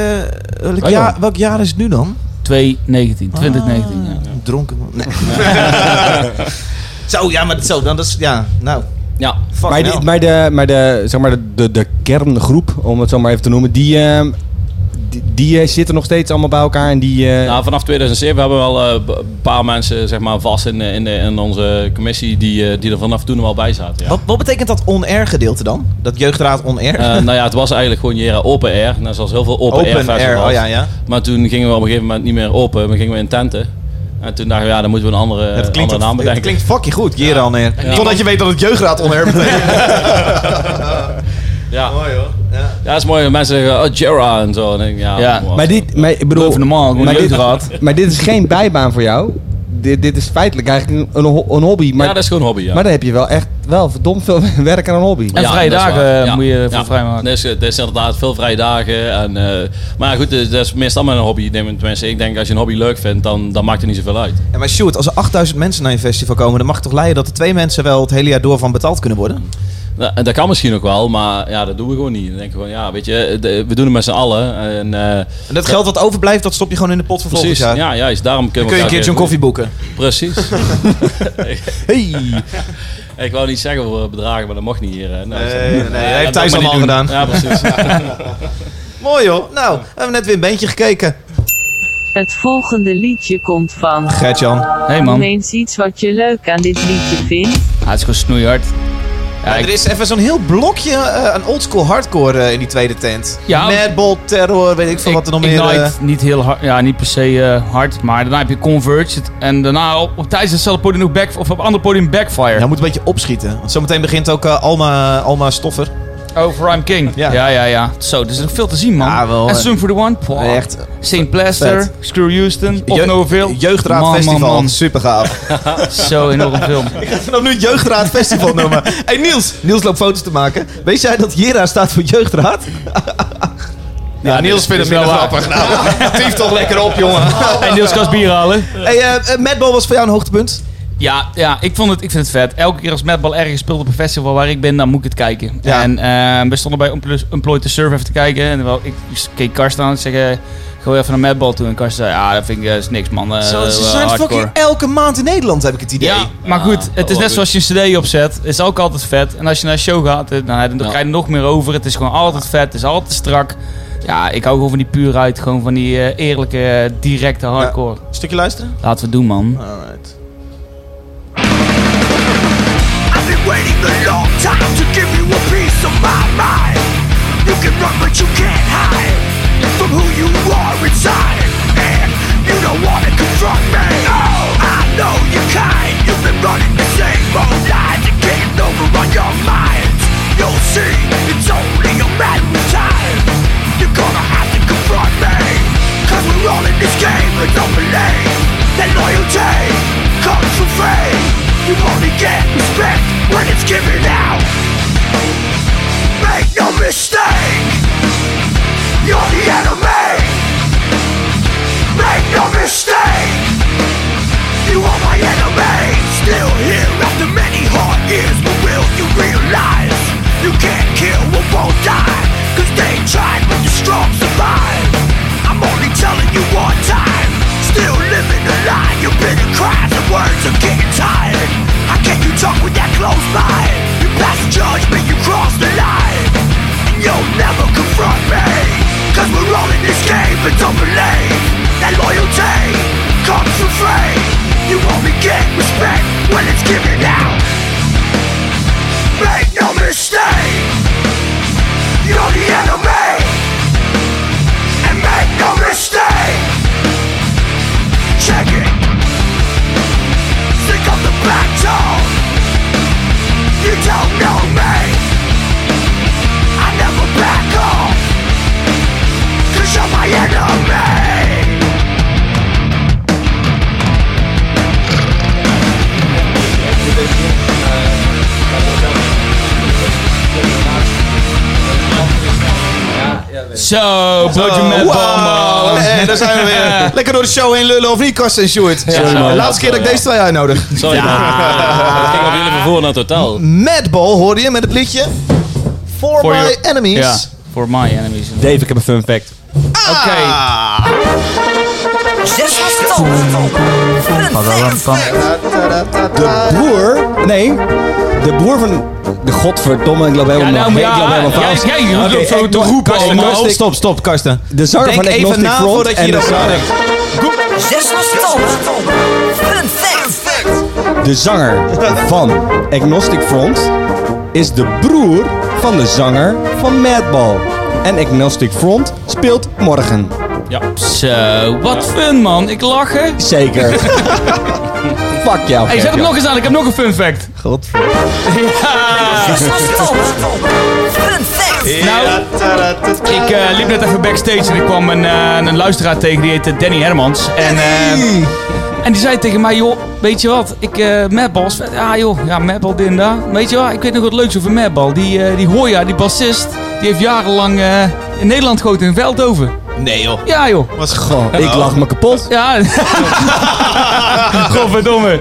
S2: welk,
S4: Oh,
S2: jaar,
S4: joh.
S2: welk jaar is het nu dan?
S4: 2019, 2019. ja.
S2: Dronken man. Nee. zo, ja, maar zo, dan dat is, ja, nou.
S9: eh, ja.
S2: Fuck nou.
S5: Maar,
S2: hell.
S5: de, maar, de, maar, de, zeg maar de, de, de kerngroep, om het zo maar even te noemen, die, ehm, die, die eh, zitten nog steeds allemaal bij elkaar. En die, eh,
S9: Nou, vanaf 2007 hebben we wel eh, b- een paar mensen zeg maar, vast in, eh, in, de- in onze commissie die, eh, die er vanaf toen al bij zaten. Ja.
S2: wat, wat betekent dat on-air gedeelte dan? Dat jeugdraad on-air?
S9: Eh, nou ja, het was eigenlijk gewoon Jera Open Air. Net zoals heel veel Open, Air
S2: Open
S9: festivals.
S2: air, oh ja, ja.
S9: Maar toen gingen we op een gegeven moment niet meer open. We gingen we in tenten. En toen dachten we, ja, dan moeten we Eh, een andere,
S2: Het klinkt,
S9: andere naam
S2: het, het
S9: bedenken.
S2: klinkt fucking goed, Jera on-air.
S9: Ja.
S2: Totdat je weet dat het jeugdraad on-air betekent.
S9: Ja.
S2: Mooi hoor. Ja.
S9: ja, dat is mooi. Mensen zeggen, oh, Jera en zo. En ik, ja,
S4: Ja,
S9: wow.
S5: maar dit, maar, ik bedoel,
S4: Boven normaal, gewoon
S5: maar, dit,
S4: jeugdraad.
S5: maar dit is geen bijbaan voor jou. Dit, dit is feitelijk eigenlijk een, een, ho- een hobby. Maar,
S9: ja, dat is gewoon een hobby, ja.
S5: maar dan heb je wel echt wel verdomd veel werk aan een hobby.
S4: En
S9: Ja,
S4: vrije
S9: dat is
S4: dagen,
S9: waar.
S4: eh, moet je voor vrijmaken.
S9: Dus, eh, er is inderdaad veel vrije dagen. En, eh, maar ja, goed, eh, dat is meestal maar een hobby. Tenminste, ik denk als je een hobby leuk vindt, dan, dan maakt het niet zoveel uit.
S2: Ja, maar Sjoerd, als er 8000 mensen naar je festival komen, dan mag het toch leiden dat er twee mensen wel het hele jaar door van betaald kunnen worden?
S9: Nou, en Dat kan misschien ook wel, maar ja, dat doen we gewoon niet. Dan denk ik gewoon, ja, weet je, de- we doen het met z'n allen. En, eh,
S2: En dat geld wat overblijft, dat stop je gewoon in de pot voor volgend
S9: precies,
S2: jaar.
S9: ja, juist. Daarom
S2: Dan
S9: kunnen
S2: kun je
S9: we
S2: een keer
S9: elkaar
S2: zo'n koffie boeken.
S9: weer- Precies.
S2: Hey.
S9: ik wou niet zeggen voor bedragen, maar dat mocht niet hier. hè. Nou, dus-
S2: Nee, nee, dat heeft
S9: dat
S2: Thijs
S9: mag niet
S2: allemaal
S9: doen. Ja, precies.
S2: Mooi hoor. Nou, we hebben net weer een bandje gekeken.
S7: Het volgende liedje komt van.
S2: Gert-Jan.
S4: Hey man,
S7: Noem eens iets wat je leuk aan dit liedje vindt.
S4: Ah, het is gewoon snoeihard. Ja,
S2: er
S4: ik-
S2: is even zo'n heel blokje eh, aan oldschool hardcore eh, in die tweede tent.
S4: Ja.
S2: Madball, Terror, weet ik veel wat er nog meer...
S4: Ignite,
S2: eh,
S4: niet heel hard, ja, niet per se eh, hard, maar daarna heb je Converge en daarna op, op tijdens hetzelfde podium nog back, of op het andere podium Backfire.
S2: ja, Nou, moet een beetje opschieten. Want zometeen begint ook eh, Alma, Alma Stoffer.
S4: Over I'm King.
S2: Ja.
S4: Ja. ja, ja, Zo, dus er is nog veel te zien, man.
S2: Ja, wel,
S4: en
S2: eh,
S4: Sun for the One. Pwah.
S2: Echt. eh,
S4: St. Plaster,
S2: vet.
S4: Screw Houston, of
S2: Je-
S4: Noville.
S2: Jeugdraad
S4: Man, man,
S2: Festival.
S4: man.
S2: Super gaaf.
S4: Zo enorm film.
S2: Ik ga dat nu Jeugdraad Festival noemen. hey, Niels. Niels loopt foto's te maken. Weet jij dat Jera staat voor Jeugdraad?
S4: Ja, Niels vindt het wel grappig.
S2: Tief toch lekker op, jongen.
S4: En Niels kan bier halen.
S2: Hey, eh, eh, Madball was voor jou een hoogtepunt.
S4: Ja, ja ik, vond het, ik vind het vet. Elke keer als Madball ergens speelt op een festival waar ik ben, dan moet ik het kijken.
S2: Ja.
S4: En ehm, we stonden bij Emplo- Employed to Serve even te kijken. En wel, ik keek Karsten aan en zeg, eh, ga wel even naar Madball toe. En Karsten zei, ja, dat vind ik eh, is niks, man. Eh,
S2: Zo, ze
S4: eh,
S2: zijn
S4: hardcore.
S2: fucking elke maand in Nederland, heb ik het idee.
S4: Ja, maar
S9: Ah,
S4: goed, het is
S9: dat wel
S4: net
S9: goed.
S4: zoals je een cd opzet. is ook altijd vet. En als je naar een show gaat, eh, nou, dan
S9: Ja.
S4: krijg je er nog meer over. Het is gewoon altijd vet, het is altijd strak. Ja, ik hou gewoon van die puurheid. Gewoon van die eh, eerlijke, eh, directe hardcore.
S2: Stukje luisteren?
S4: Laten we het doen, man.
S2: Alright.
S8: I've been waiting a long time to give you a piece of my mind. You can run, but you can't hide from who you are inside. And you don't wanna confront me. Oh, I know you're kind. You've been running the same old lies and getting over on your mind. You'll see, it's only a matter of time. You're gonna have to confront me. Cause we're all in this game, but don't believe that loyalty comes from fame. You only get respect when it's given out. Make no mistake, you're the enemy. Make no mistake, you are my enemy. Still here after many hard years, but will you realize you can't kill what won't die? Cause they tried, but the strong survive. I'm only telling you one time. Still living a lie, you've been a cries and words are getting tired. How can you talk with that close mind? You pass judgment, you cross the line. And you'll never confront me. Cause we're all in this game and don't believe that loyalty comes for free. You only get respect when it's given out. Make no mistake, you're the enemy. And make no mistake, check it. Sick of the back door. You don't know me. I never back off. Cause you're my enemy.
S4: Zo, broodje met
S2: Wow.
S4: bambo.
S2: Hey, Oh, Eh, daar zijn we weer. Lekker door de show heen lullen of niet, Karsten en Sjoerd.
S9: Sorry, man.
S2: De laatste keer dat ik deze twee uitnodig.
S9: Sorry man. Ik ging op jullie vervoer naar totaal.
S2: Madball hoorde je met het liedje For,
S4: For
S2: My
S4: your-
S2: Enemies.
S4: Ja, voor my enemies.
S5: Dave, ik heb een fun fact.
S4: Oké.
S2: Ah!
S5: De broer... Nee, de broer van... De godverdomme, ik loop helemaal...
S4: Ja, nou,
S5: ik
S4: ja,
S5: loop helemaal
S4: jij-
S5: vals.
S4: jij loopt
S5: Oké,
S4: zo
S5: ik-
S4: te roepen
S5: Karsten,
S4: allemaal.
S5: Karsten,
S2: Stop, stop, Karsten.
S5: De zanger
S2: Denk
S5: van
S2: even
S5: Agnostic
S2: na
S5: Front
S2: voordat je
S5: en de
S2: hierover
S5: zanger-
S2: nadenkt.
S5: De zanger van Agnostic Front is de broer van de zanger van Madball. En Agnostic Front speelt morgen.
S9: Ja.
S4: Zo, Eh, wat fun man. Ik lach hè.
S5: Zeker. Fuck jou.
S4: Hey, zet hem nog eens aan. Ik heb nog een fun fact. Nou, ik eh, liep net even backstage en ik kwam een, eh, een luisteraar tegen. Die heette Danny Hermans. En, eh, en die zei tegen mij, joh, weet je wat? Ik, eh Madball, is vet. ja joh, ja, Madball dit en dat. Maar Weet je wat? Ik weet nog wat leuks over Madball. Die, eh, die Hoya, die bassist, die heeft jarenlang eh, in Nederland gegoten in Veldhoven.
S2: Nee joh.
S4: Ja joh.
S2: Wat
S5: Goh, ik lach me kapot.
S4: Ja. Godverdomme.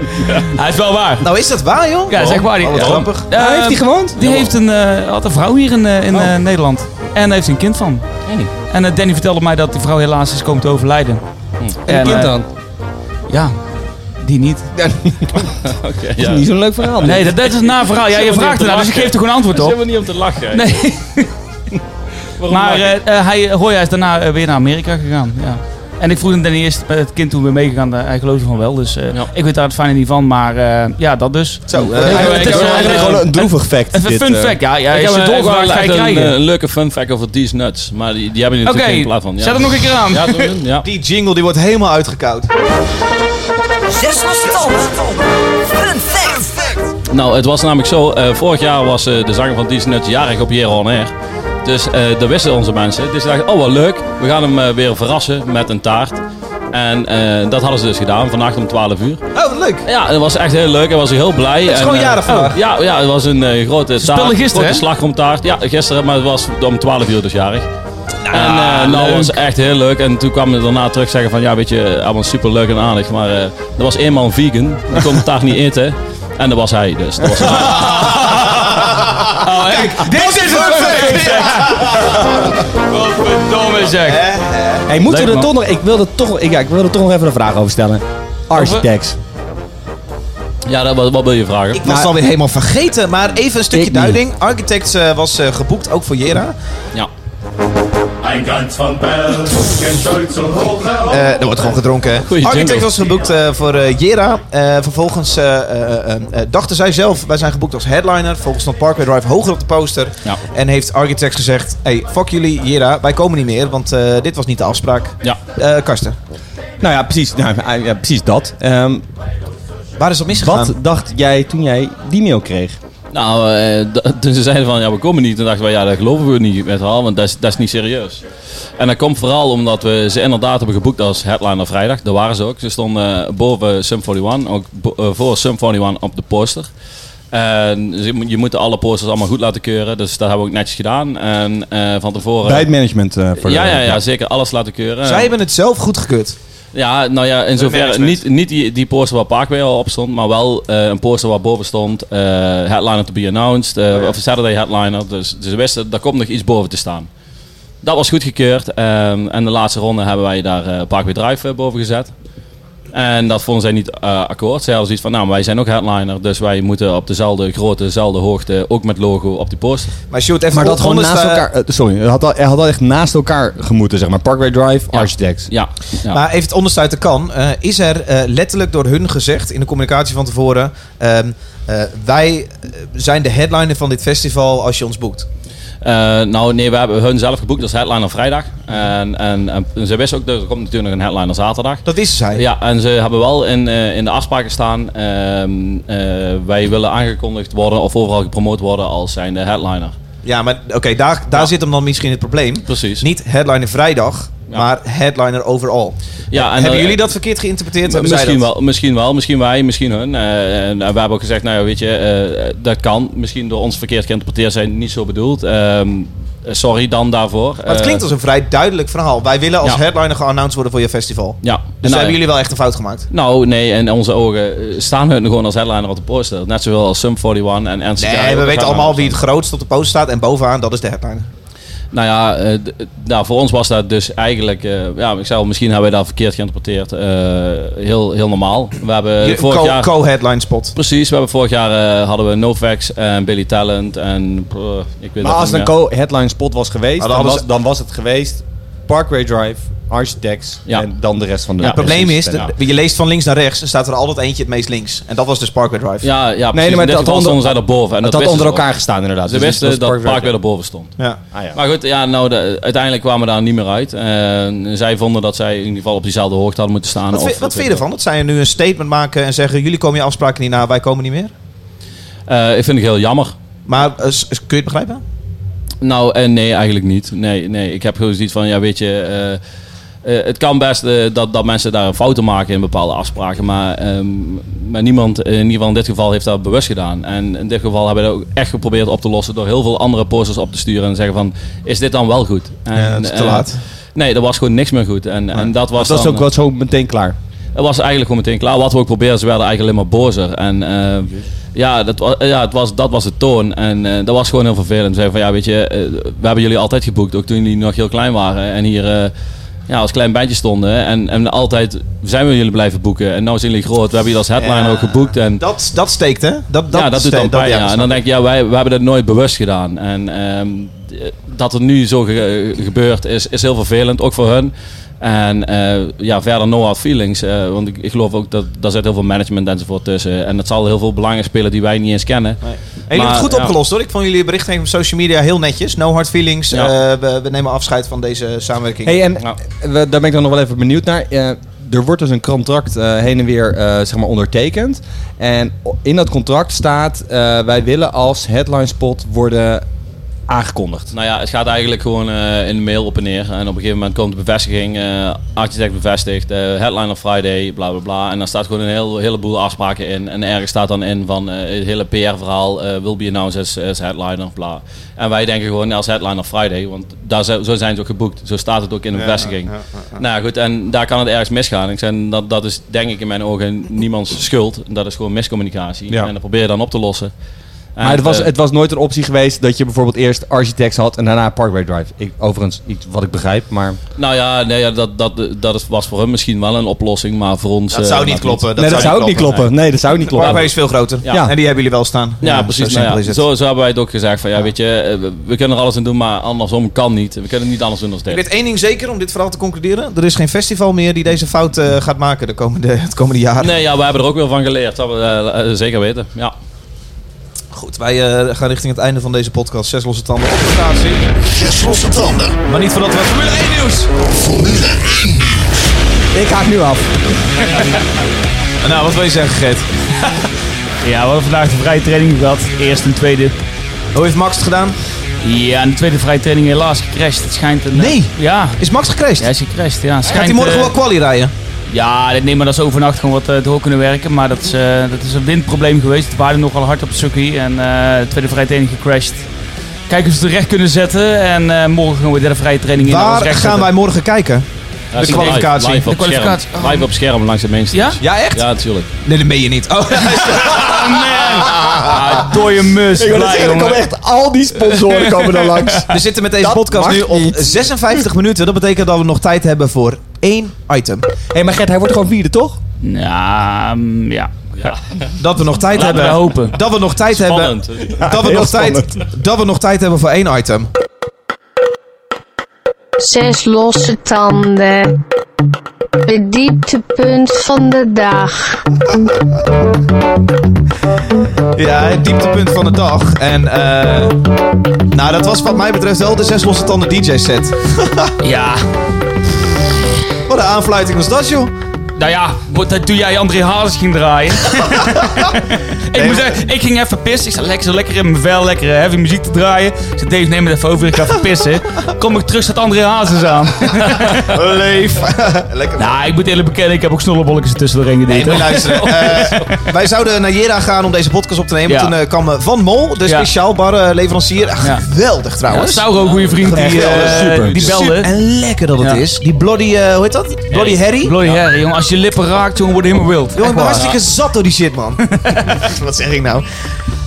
S4: Hij is wel waar.
S2: Nou is dat waar joh?
S4: Ja, zeg maar.
S2: Oh, wat
S4: Ja.
S2: grappig.
S4: Eh,
S5: Waar heeft hij gewoond?
S4: Die heeft een, eh, had een vrouw hier in, eh, in eh, Nederland. En daar heeft hij een kind van. En eh, Danny vertelde mij dat die vrouw helaas is komen te overlijden.
S5: En
S4: eh,
S5: kind dan?
S4: ja, die niet.
S9: Oké, ja.
S5: Niet zo'n leuk verhaal.
S4: Nee, dat, dat is een na verhaal. Ja, je vraagt ernaar, dus ik geef er gewoon antwoord
S9: Dat is
S4: op.
S9: helemaal niet om te lachen.
S4: Nee,
S9: Waarom
S4: maar
S9: lachen?
S4: eh eh, hij, Hoya is daarna eh, weer naar Amerika gegaan. Ja. En ik vroeg hem ten eerste met het kind toen weer meegegaan. eh, Hij geloofde van wel, dus eh,
S9: Ja.
S4: ik weet daar het fijne niet van. Maar eh, ja, dat dus.
S2: Zo, eh,
S4: Ja,
S5: Eigenlijk-
S4: het is wel,
S5: Eigenlijk
S4: eh,
S5: gewoon een droevig fact.
S4: Even
S5: dit,
S4: fun
S5: eh.
S4: fact, ja. ja
S9: Ik
S4: als je
S9: heb een,
S4: doorgevraagd ga je
S9: een,
S4: krijgen.
S9: een leuke fun fact over These Nuts. Maar die, die hebben jullie
S4: Oké,
S9: natuurlijk geen plaat van. Ja.
S4: zet hem nog een keer aan.
S9: Ja, doe hem, ja.
S2: die jingle die wordt helemaal uitgekoud.
S9: Nou, het was namelijk zo. eh, vorig jaar was eh, de zanger van These Nuts jarig op Jero On Air. Dus eh dat wisten onze mensen. Dus ze dachten, oh wat leuk. We gaan hem eh, weer verrassen met een taart. En eh, dat hadden ze dus gedaan, vannacht om 12 uur.
S2: Oh, wat leuk.
S9: Ja, dat was echt heel leuk. Hij was heel blij. Het
S2: is gewoon jarig vandaag.
S9: ja, ja, het was een eh, grote taart.
S4: speelden gisteren,
S9: grote
S4: hè?
S9: slagroomtaart. Ja, gisteren, maar het was om 12 uur dus jarig. En eh nou,
S4: Ah, leuk.
S9: het was echt heel leuk. En toen kwamen we daarna terug zeggen van, ja, weet je, allemaal super leuk en aardig. Maar eh, er was één man vegan. Die kon de taart niet eten. En dat was hij dus. Dat was
S2: Kijk, dit is
S4: een fun
S2: perfect.
S4: Godverdomme zeg.
S5: Hey, moeten we
S4: Leuk, man.
S5: er toch nog... Ik wilde toch, ik, ja, ik wilde toch nog even een vraag over stellen. Architects.
S9: Ja, dat, wat, wat wil je vragen?
S2: Ik was het alweer helemaal vergeten, maar even een
S5: Ik
S2: stukje
S5: niet.
S2: duiding. Architects eh, was eh, geboekt, ook voor Jera.
S9: Ja.
S11: Ein ganz von Belgien stolz und hoch herauf.
S2: Eh er wordt gewoon gedronken. hè?
S9: Goeie
S2: Architect
S9: jingle.
S2: was geboekt eh, voor eh, Jera. Eh, vervolgens eh, eh, eh, eh, dachten zij zelf, wij zijn geboekt als headliner. Volgens stond Parkway Drive hoger op de poster.
S9: Ja.
S2: En heeft Architect gezegd, hey, fuck jullie, Jera, wij komen niet meer. Want eh, dit was niet de afspraak.
S9: Ja.
S2: Eh, Karsten,
S5: Nou ja, precies, nou, ja, ja, precies dat. Ehm,
S2: waar is dat misgegaan?
S5: wat dacht jij toen jij die mail kreeg?
S9: Nou, eh, d- toen ze zeiden van ja, we komen niet, toen dachten wij ja, dat geloven we niet met haal, want dat is, dat is niet serieus. En dat komt vooral omdat we ze inderdaad hebben geboekt als headliner vrijdag. Dat waren ze ook. Ze stonden eh, boven Sum 41, ook bo- eh, voor Sum 41 op de poster. En ze mo- je moet alle posters allemaal goed laten keuren, dus dat hebben we ook netjes gedaan. En eh, van tevoren.
S5: Bij het management eh, voor de-
S9: ja, ja, ja, zeker alles laten keuren.
S2: Zij hebben het zelf goedgekeurd.
S9: Ja, nou ja, in zoverre
S2: management.
S9: niet, niet die, die poster waar Parkway al op stond, maar wel eh, een poster waar boven stond eh, headliner to be announced, eh, of Saturday headliner. Dus, dus we wisten, daar komt nog iets boven te staan. Dat was goedgekeurd ehm, en de laatste ronde hebben wij daar eh, Parkway Drive eh, boven gezet. En dat vonden zij niet eh, akkoord. Zij hadden zoiets van, nou wij zijn ook headliner, dus wij moeten op dezelfde grootte, dezelfde hoogte, ook met logo op die poster.
S2: Maar Sjoerd, even
S5: Maar dat gewoon
S2: onderste-
S5: naast elkaar... eh, sorry, het had, al- het had al echt naast elkaar gemoeten, zeg maar. Parkway Drive, Architects.
S9: Ja, ja.
S2: Maar even het onderste uit de kan. eh, is er eh, letterlijk door hun gezegd in de communicatie van tevoren... ehm, eh, wij eh, zijn de headliner van dit festival als je ons boekt.
S9: Eh, nou, nee, we hebben hun zelf geboekt als headliner vrijdag. En, en, en ze wisten ook, dat er komt natuurlijk nog een headliner zaterdag.
S2: Dat is zij.
S9: Ja, en ze hebben wel in, eh, in de afspraken staan, ehm, eh, wij willen aangekondigd worden of overal gepromoot worden als zijnde headliner.
S2: Ja, maar oké, daar, daar zit hem dan misschien het probleem.
S9: Precies.
S2: Niet headliner vrijdag,
S9: Ja.
S2: maar headliner overal.
S9: Ja, en
S2: Hebben
S9: dan-
S2: jullie dat verkeerd geïnterpreteerd? Hebben zij
S9: Misschien
S2: dat?
S9: wel, misschien wel, misschien wij, misschien hun. Eh, en we hebben ook gezegd, nou ja, weet je, eh, dat kan. Misschien door ons verkeerd geïnterpreteerd zijn, niet zo bedoeld. Ehm, eh, Eh, sorry dan daarvoor.
S2: Maar het
S9: Eh,
S2: klinkt als een vrij duidelijk verhaal. Wij willen als
S9: Ja.
S2: headliner geannounced worden voor je festival.
S9: Ja.
S2: Dus
S9: Nou,
S2: daar hebben jullie wel echt een fout gemaakt.
S9: Nou, nee, in onze ogen eh, staan we gewoon als headliner op de poster. Net zowel als Sum 41 en NCK.
S2: Nee, we weten allemaal wie het grootst op de post staat. En bovenaan, dat is de headliner.
S9: Nou ja, eh, d- nou, voor ons was dat dus eigenlijk... eh, ja, ik zei al, misschien hebben wij dat verkeerd geïnterpreteerd. Eh, heel, heel normaal. We hebben
S2: Je-
S9: Eh, vorig
S2: co-
S9: jaar...
S2: Co-headline spot.
S9: Precies, we hebben vorig jaar eh, hadden we Novax en Billy Talent en... eh, ik weet
S5: Maar
S9: dat
S5: als het
S9: niet
S5: een
S9: meer.
S5: co-headline spot was geweest,
S9: Nou,
S2: Maar dan
S5: dan
S2: hadden
S5: was, dan was het geweest Parkway Drive, Architects
S9: Ja.
S5: en dan de rest van de...
S9: Ja,
S2: Het probleem is,
S5: precies.
S2: dat- je leest van links naar rechts en staat er altijd eentje het meest links. En dat was dus Parkway Drive.
S9: Ja, ja
S5: nee,
S9: precies.
S5: maar
S9: In dit
S5: dat
S9: geval
S5: onder-
S9: stonden zij daarboven. En
S5: Het
S9: dat
S5: had onder
S9: wisten ze
S5: elkaar gestaan inderdaad.
S9: ook. Ze
S5: Dus
S9: wisten
S5: was
S9: dat het
S5: Parkway
S9: park weer
S5: Drive.
S9: daarboven stond.
S2: Ja.
S5: Ah, ja.
S9: Maar goed, ja, nou, de- uiteindelijk kwamen we daar niet meer uit. En zij vonden dat zij in ieder geval op diezelfde hoogte hadden moeten staan.
S2: Wat,
S9: of-
S2: vind, wat
S9: of-
S2: vind je ervan? Dat zij nu een statement maken en zeggen: jullie komen je afspraken niet na, wij komen niet meer.
S9: Eh, ik vind het heel jammer.
S2: Maar eh, s- kun je het begrijpen?
S9: Nou, eh, nee, eigenlijk niet. Nee, nee, ik heb gewoon zoiets van, ja, weet je... eh, eh, het kan best eh, dat, dat mensen daar fouten maken in bepaalde afspraken. Maar, ehm, maar niemand, eh, in ieder geval in dit geval, heeft dat bewust gedaan. En in dit geval hebben we dat ook echt geprobeerd op te lossen... door heel veel andere posters op te sturen en zeggen van... is dit dan wel goed? En,
S2: Ja, dat is te
S9: eh,
S2: laat.
S9: nee, er was gewoon niks meer goed. En, en dat was
S5: Dat was
S9: dan-
S5: ook wel zo meteen klaar.
S9: Het was eigenlijk gewoon meteen klaar. Wat we ook probeerden, ze werden eigenlijk alleen maar bozer. En eh, ja, dat was, ja het was, dat was de toon. En eh, dat was gewoon heel vervelend. Ze zeiden van, ja, weet je, eh, we hebben jullie altijd geboekt. Ook toen jullie nog heel klein waren. En hier eh, ja, als klein bandje stonden. En, en altijd zijn we jullie blijven boeken. En nu zijn jullie groot. We hebben jullie als headliner
S2: Ja.
S9: ook geboekt. En
S2: Dat, dat steekt, hè? Dat, dat
S9: ja, dat doet dan
S2: steekt-
S9: pijn. ja.
S2: dat
S9: En
S2: snap
S9: dan denk ik, ja, wij, wij hebben dat nooit bewust gedaan. En ehm, d- dat het nu zo ge- gebeurt is, is heel vervelend, ook voor hun. En eh, ja, verder no hard feelings. eh, want ik, ik geloof ook dat daar zit heel veel management enzovoort tussen. En dat zal heel veel belangen spelen die wij niet eens kennen.
S2: Nee. En jullie hebben
S9: Maar,
S2: het goed
S9: ja.
S2: opgelost hoor. Ik vond jullie berichtgeving op social media heel netjes. No hard feelings.
S9: Ja.
S2: Eh, we, we nemen afscheid van deze samenwerking.
S5: Hey, en
S9: Ja.
S5: we- daar ben ik dan nog wel even benieuwd naar. Eh, er wordt dus een contract eh, heen en weer eh, zeg maar ondertekend. En o- in dat contract staat: eh, wij willen als headline spot worden aangekondigd.
S9: Nou ja, het gaat eigenlijk gewoon eh, in de mail op en neer. En op een gegeven moment komt de bevestiging, eh, architect bevestigt, eh, headline headliner Friday, bla bla bla. En dan staat gewoon een heel, heleboel afspraken in. En ergens staat dan in van eh, het hele PR-verhaal, eh will be announced as, as headliner, bla. En wij denken gewoon als headliner Friday, want daar zijn, zo zijn ze ook geboekt. Zo staat het ook in de bevestiging. Nou ja, goed, en daar kan het ergens misgaan. Ik zei, dat, dat is denk ik in mijn ogen niemands schuld. Dat is gewoon miscommunicatie.
S5: Ja.
S9: En dat probeer je dan op te lossen.
S4: Ah,
S9: En,
S5: Maar het was,
S9: eh,
S5: het was nooit een optie geweest dat je bijvoorbeeld eerst Architects had en daarna Parkway Drive. Ik, overigens, iets wat ik begrijp, maar.
S9: Nou ja, nee, ja dat, dat, dat is- was voor hem misschien wel een oplossing, maar voor ons...
S2: dat
S9: eh,
S2: zou niet
S9: maakt
S2: kloppen.
S5: nee, dat zou ook niet kloppen. Nee. dat zou ook niet
S2: De
S5: kloppen.
S2: Parkway is veel groter.
S9: Ja.
S2: En die hebben jullie wel staan.
S9: Ja, precies.
S2: Zo
S9: nou
S2: simpel
S9: ja,
S2: is het.
S9: zo, zo hebben wij het ook gezegd. Van, ja, Weet je, eh, we, we kunnen er alles aan doen, maar andersom kan niet. We kunnen het niet anders doen dan dit.
S2: Ik weet één ding zeker om dit verhaal te concluderen. Er is geen festival meer die deze fout eh, gaat maken de komende, het komende jaar.
S9: Nee, ja, we hebben er ook wel van geleerd. Dat we eh, eh, zeker weten. Ja.
S2: Goed, wij eh, gaan richting het einde van deze podcast. Zes losse tanden op de statie.
S10: Zes losse tanden.
S2: Maar niet voordat we Formule 1 nieuws.
S10: Formule 1 nieuws.
S5: Ik haak nu af.
S2: Nou, wat wil je zeggen, Gert?
S12: Ja, we hadden vandaag de vrije training gehad. Eerst en tweede.
S2: Hoe heeft Max het gedaan?
S4: Ja, en de tweede vrije training helaas gecrashed. Het schijnt een... eh,
S2: Nee.
S4: Ja.
S2: Is Max gecrashed?
S4: Ja, hij is gecrashed. Ja, Het
S2: gaat
S4: schijnt,
S2: hij morgen
S4: eh,
S2: wel quali rijden?
S4: Ja, dit neem maar dat ze overnacht gewoon wat eh, door kunnen werken. Maar dat is, eh, dat is een windprobleem geweest. Het waarde nogal hard op het circuit. En eh, de tweede vrije training gecrashed. Kijken of ze het recht kunnen zetten. En eh, morgen gaan we de derde vrije training in.
S2: Waar
S4: Alles recht
S2: gaan wij
S4: zetten.
S2: morgen kijken?
S9: Ja, zie ik
S2: kwalificatie.
S9: Live, live op
S4: De kwalificatie. Oh.
S9: Scherm. Live op scherm langs de mainstage.
S4: Ja?
S2: Ja, echt?
S9: Ja, natuurlijk.
S2: Nee, dat meen je niet. Oh,
S4: Ah, man! Ah, dode mus. Blij, jongen.
S5: echt al die sponsoren komen er langs.
S2: We zitten met deze
S5: Dat
S2: podcast
S5: mag
S2: nu op
S5: niet.
S2: 56 minuten. Dat betekent dat we nog tijd hebben voor één item.
S5: Hé, maar Gert, hij wordt gewoon vierde, toch?
S4: Ja, mm, ja.
S2: Dat we nog tijd
S4: Laten we
S2: hebben.
S4: hopen.
S2: Dat we nog tijd
S9: Spannend.
S2: hebben. dat, we
S5: heel
S2: nog tijd, dat we nog tijd hebben voor één item.
S6: Zes losse tanden. Het dieptepunt van de dag.
S2: Ja, het dieptepunt van de dag. En eh, nou, dat was wat mij betreft wel de zes losse tanden DJ set.
S4: Ja.
S2: Wat een aanfluiting was dat, joh.
S4: Nou ja, wat- dat toen jij André Hazes ging draaien. ik, moest, e- ik ging even pissen. Ik zat lekker, zo lekker in mijn vel, lekker eh, heavy muziek te draaien. Ik zei, Dave, neem het even over. Ik ga even pissen. Kom ik terug, staat André Hazes aan.
S2: Leef. Lekker.
S4: Nou, ik moet eerlijk bekennen, ik heb ook snollebolletjes er tussendoor
S2: Nee,
S4: ingediend.
S2: maar
S4: hoor.
S2: luisteren. eh, wij zouden naar Jera gaan om deze podcast op te nemen.
S4: Ja.
S2: Toen eh, kwam eh, Van Mol, de
S4: Ja.
S2: speciaal bar eh, leverancier. Ah, Geweldig trouwens.
S4: Ja, Sauro, een goede vriend, die,
S2: Geweldig.
S4: eh, Super. die belde.
S2: Super. En lekker dat het
S4: Ja.
S2: is. Die bloody, eh, hoe heet dat? Bloody Harry.
S4: Bloody Harry, jongen. Als je lippen raakt, jongen, word je helemaal wild.
S2: Jongen, ik ben
S4: Echt waar.
S2: hartstikke zat door die shit, man. Wat zeg ik nou?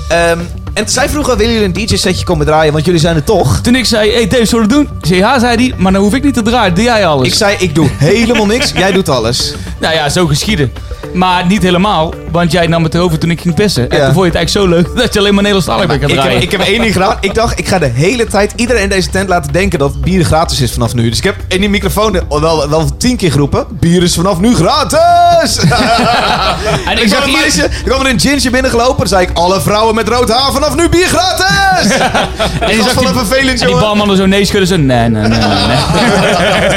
S2: Ehm, en zij vroegen, willen jullie een DJ-setje komen draaien? Want jullie zijn er toch?
S4: Toen ik zei, hey Dave, zullen we het doen? Ik zei, ja, zei hij, maar dan hoef ik niet te draaien, doe jij alles.
S2: Ik zei, ik doe helemaal niks, jij doet alles.
S4: Nou ja, zo geschieden. Maar niet helemaal, want jij nam het over toen ik ging pissen. En
S2: Ja.
S4: toen vond je het eigenlijk zo leuk dat je alleen maar Nederlandstalig bent gaan
S2: Ik
S4: draaien.
S2: heb, ik heb één ding gedaan. Ik dacht, ik ga de hele tijd iedereen in deze tent laten denken dat bier gratis is vanaf nu. Dus ik heb in die microfoon de- wel, wel tien keer geroepen. Bier is vanaf nu gratis! en ik zag een meisje, er kwam er een gintje binnengelopen. Dan zei ik, alle vrouwen met rood haar vanaf nu bier gratis!
S4: en
S2: Dat is wel een vervelend,
S4: en die
S2: jongen.
S4: barman er zo nee schudden, zo nee, nee, nee, nee. nee.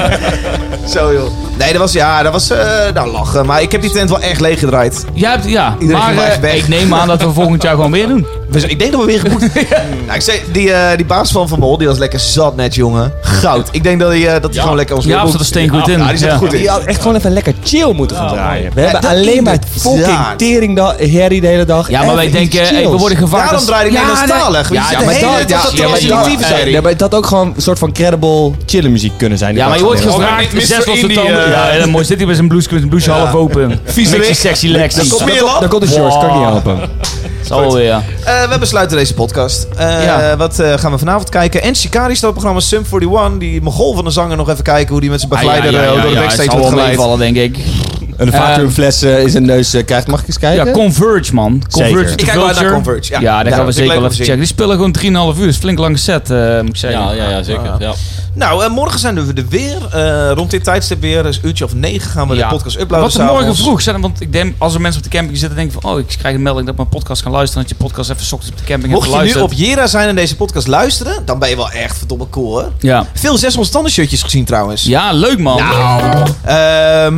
S2: Zo joh. Nee, dat was, ja, dat was, eh nou lachen. Maar ik heb die tent wel echt leeg gedraaid.
S4: Jij hebt, ja,
S2: Iedereen
S4: maar
S2: ging maar
S4: eh,
S2: echt weg.
S4: ik neem aan dat we volgend jaar gewoon weer doen.
S2: We zijn- Dus ik denk dat we weer geboekt Nou, ik zei, die, eh, die baas van Van Mol, die was lekker zat net, jongen. Goud. Ik denk dat hij eh, dat hij gewoon lekker ons
S4: Jaap
S2: weer
S4: zat er
S2: boekt.
S4: steengoed in.
S2: Ja, die zat er
S4: Ja.
S2: goed in.
S5: Die hadden echt gewoon even lekker chill moeten gaan draaien. We hebben
S2: dat
S5: alleen maar
S2: inderdaad.
S5: fucking tering da- herrie de hele dag.
S4: Ja, maar wij
S5: Even iets
S4: denken, hey,
S5: chills.
S4: we worden gevaard.
S2: Daarom
S4: als-
S2: draaide ik
S4: Ja,
S2: Nederlandstalig.
S4: nee.
S2: We zitten de hele tijd dat dat
S5: maar
S2: alternatieve
S5: dat-
S2: serie.
S5: ja, maar dat had ook gewoon een soort van credible chill muziek kunnen zijn.
S4: Ja, maar je wordt
S5: Ja.
S2: Oh,
S4: gevraagd.
S12: Miss
S4: Zes losse
S12: Indie,
S4: tanden.
S12: eh.
S4: Ja, heel mooi. Zit hij met zijn blouse, met zijn blouse half open. Vieze
S2: Rick.
S4: sexy Lexi.
S2: Dan komt Merel.
S5: Daar komt de shorts, kan ik niet helpen.
S4: Zal wel weer, ja.
S2: Eh, we besluiten deze podcast. Eh,
S4: Ja.
S2: Wat eh, gaan we vanavond kijken? En Shikari staat op programma Sum 41. Die mogol van de zanger nog even kijken hoe die met zijn begeleider
S4: Ah, ja, ja,
S2: eh,
S4: ja,
S2: door de
S4: ja,
S2: backstage
S4: het zal
S2: wordt
S4: wel
S2: geleid.
S4: meevallen, denk ik.
S5: Een vacuümfles eh, in zijn neus eh, krijgt. Mag ik eens kijken?
S4: Ehm, Ja, Converge, man. Converge
S5: Zeker.
S4: to
S2: Ik kijk wel uit naar
S4: Vulture.
S2: Converge, ja.
S4: daar
S2: Ja,
S4: gaan we
S2: vind ik
S4: zeker
S2: leuk
S4: wel
S2: om
S4: even
S2: te
S4: checken. Die spelen gewoon 3,5 uur. Dat is flink lange set, eh, moet ik zeggen.
S9: Ja, ja, ja
S4: Ah.
S9: zeker. Ja.
S2: Nou, eh, morgen zijn we er weer. Eh, rond dit tijdstip weer. Dus uurtje of negen gaan we
S4: Ja.
S2: de podcast uploaden.
S4: Wat er morgen
S2: s'avonds.
S4: vroeg zijn, want ik denk, als er mensen op de camping zitten, denken van, oh, ik krijg een melding dat mijn podcast kan luisteren, dat je podcast even 's ochtends op de camping hebt
S2: Mocht je nu
S4: geluisterd.
S2: op Jera zijn en deze podcast luisteren, dan ben je wel echt verdomme cool, hè?
S4: Ja.
S2: Veel zes ontstanden shirtjes gezien trouwens.
S4: ja, leuk man.
S2: Ehm,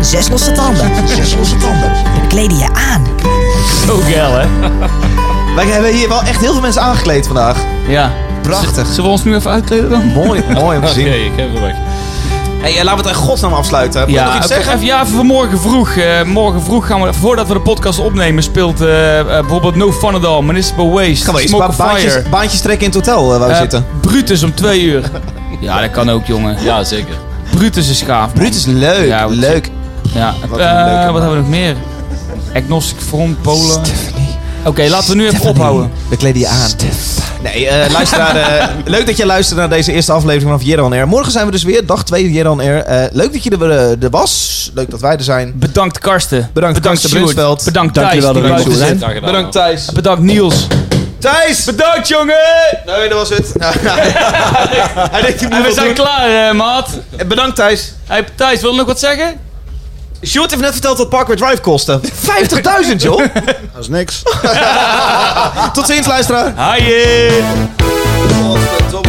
S6: Zes losse tanden. Zes losse tanden. We kleden je aan.
S4: Zo geil, hè?
S2: wij hebben hier wel echt heel veel mensen aangekleed vandaag.
S4: Ja.
S2: Prachtig.
S4: Zullen we ons nu even uitkleden dan?
S2: Mooi, mooi om te
S9: Oké,
S2: zien.
S9: ik heb hem weg.
S2: Hey, eh, laten we het in godsnaam afsluiten. Moet ik nog
S4: Ja,
S2: iets
S4: even,
S2: zeggen?
S4: even, ja, even voor morgen vroeg. Eh, morgen vroeg gaan we, voordat we de podcast opnemen, speelt eh, eh, bijvoorbeeld No Fun at All, Municipal Waste,
S2: Gaan we eens
S4: Smoke
S2: een
S4: on
S2: paar
S4: Fire,
S2: baantjes, baantjes trekken in het hotel eh, waar we
S4: eh,
S2: zitten.
S4: Brutus om twee uur. ja, dat kan ook, jongen.
S9: Ja, zeker.
S4: Brutus is gaaf. man.
S2: Brutus, leuk,
S4: Ja, wat-
S2: leuk.
S4: Ja.
S2: Wat
S4: Wat,
S2: een leuke
S4: wat
S2: man.
S4: hebben we nog meer? Agnostic Front, Polen. Oké, laten we nu even ophouden.
S2: We kleden je aan. Nee, eh luisteraar, eh, leuk dat je luistert naar deze eerste aflevering vanaf Jeroen Air. Morgen zijn we dus weer, dag 2 Jeroen Air. Eh, leuk dat je er, eh, er was. Leuk dat wij er zijn.
S4: Bedankt Karsten.
S2: Bedankt Karsten
S4: Sjoerd.
S2: Brunsveld.
S4: Bedankt
S5: Dank
S4: Thijs.
S5: jullie wel
S4: die
S5: dat jullie
S4: buiten
S5: er
S4: zit.
S9: Dag gedaan,
S2: Bedankt
S9: man.
S2: Thijs.
S4: Bedankt Niels.
S2: Thijs!
S4: Bedankt jongen!
S2: Nee, dat was het. Hij denkt, die moet
S4: En we
S2: wel doen.
S4: zijn klaar, eh, maat.
S2: Eh, Bedankt Thijs.
S4: Hey, Thijs, wil je nog wat zeggen?
S2: Sjoerd heeft net verteld wat Parkway Drive kostte. 50.000 joh!
S3: Dat is niks.
S2: Tot ziens luisteraar.
S4: Hai! eh.
S2: Godverdomme.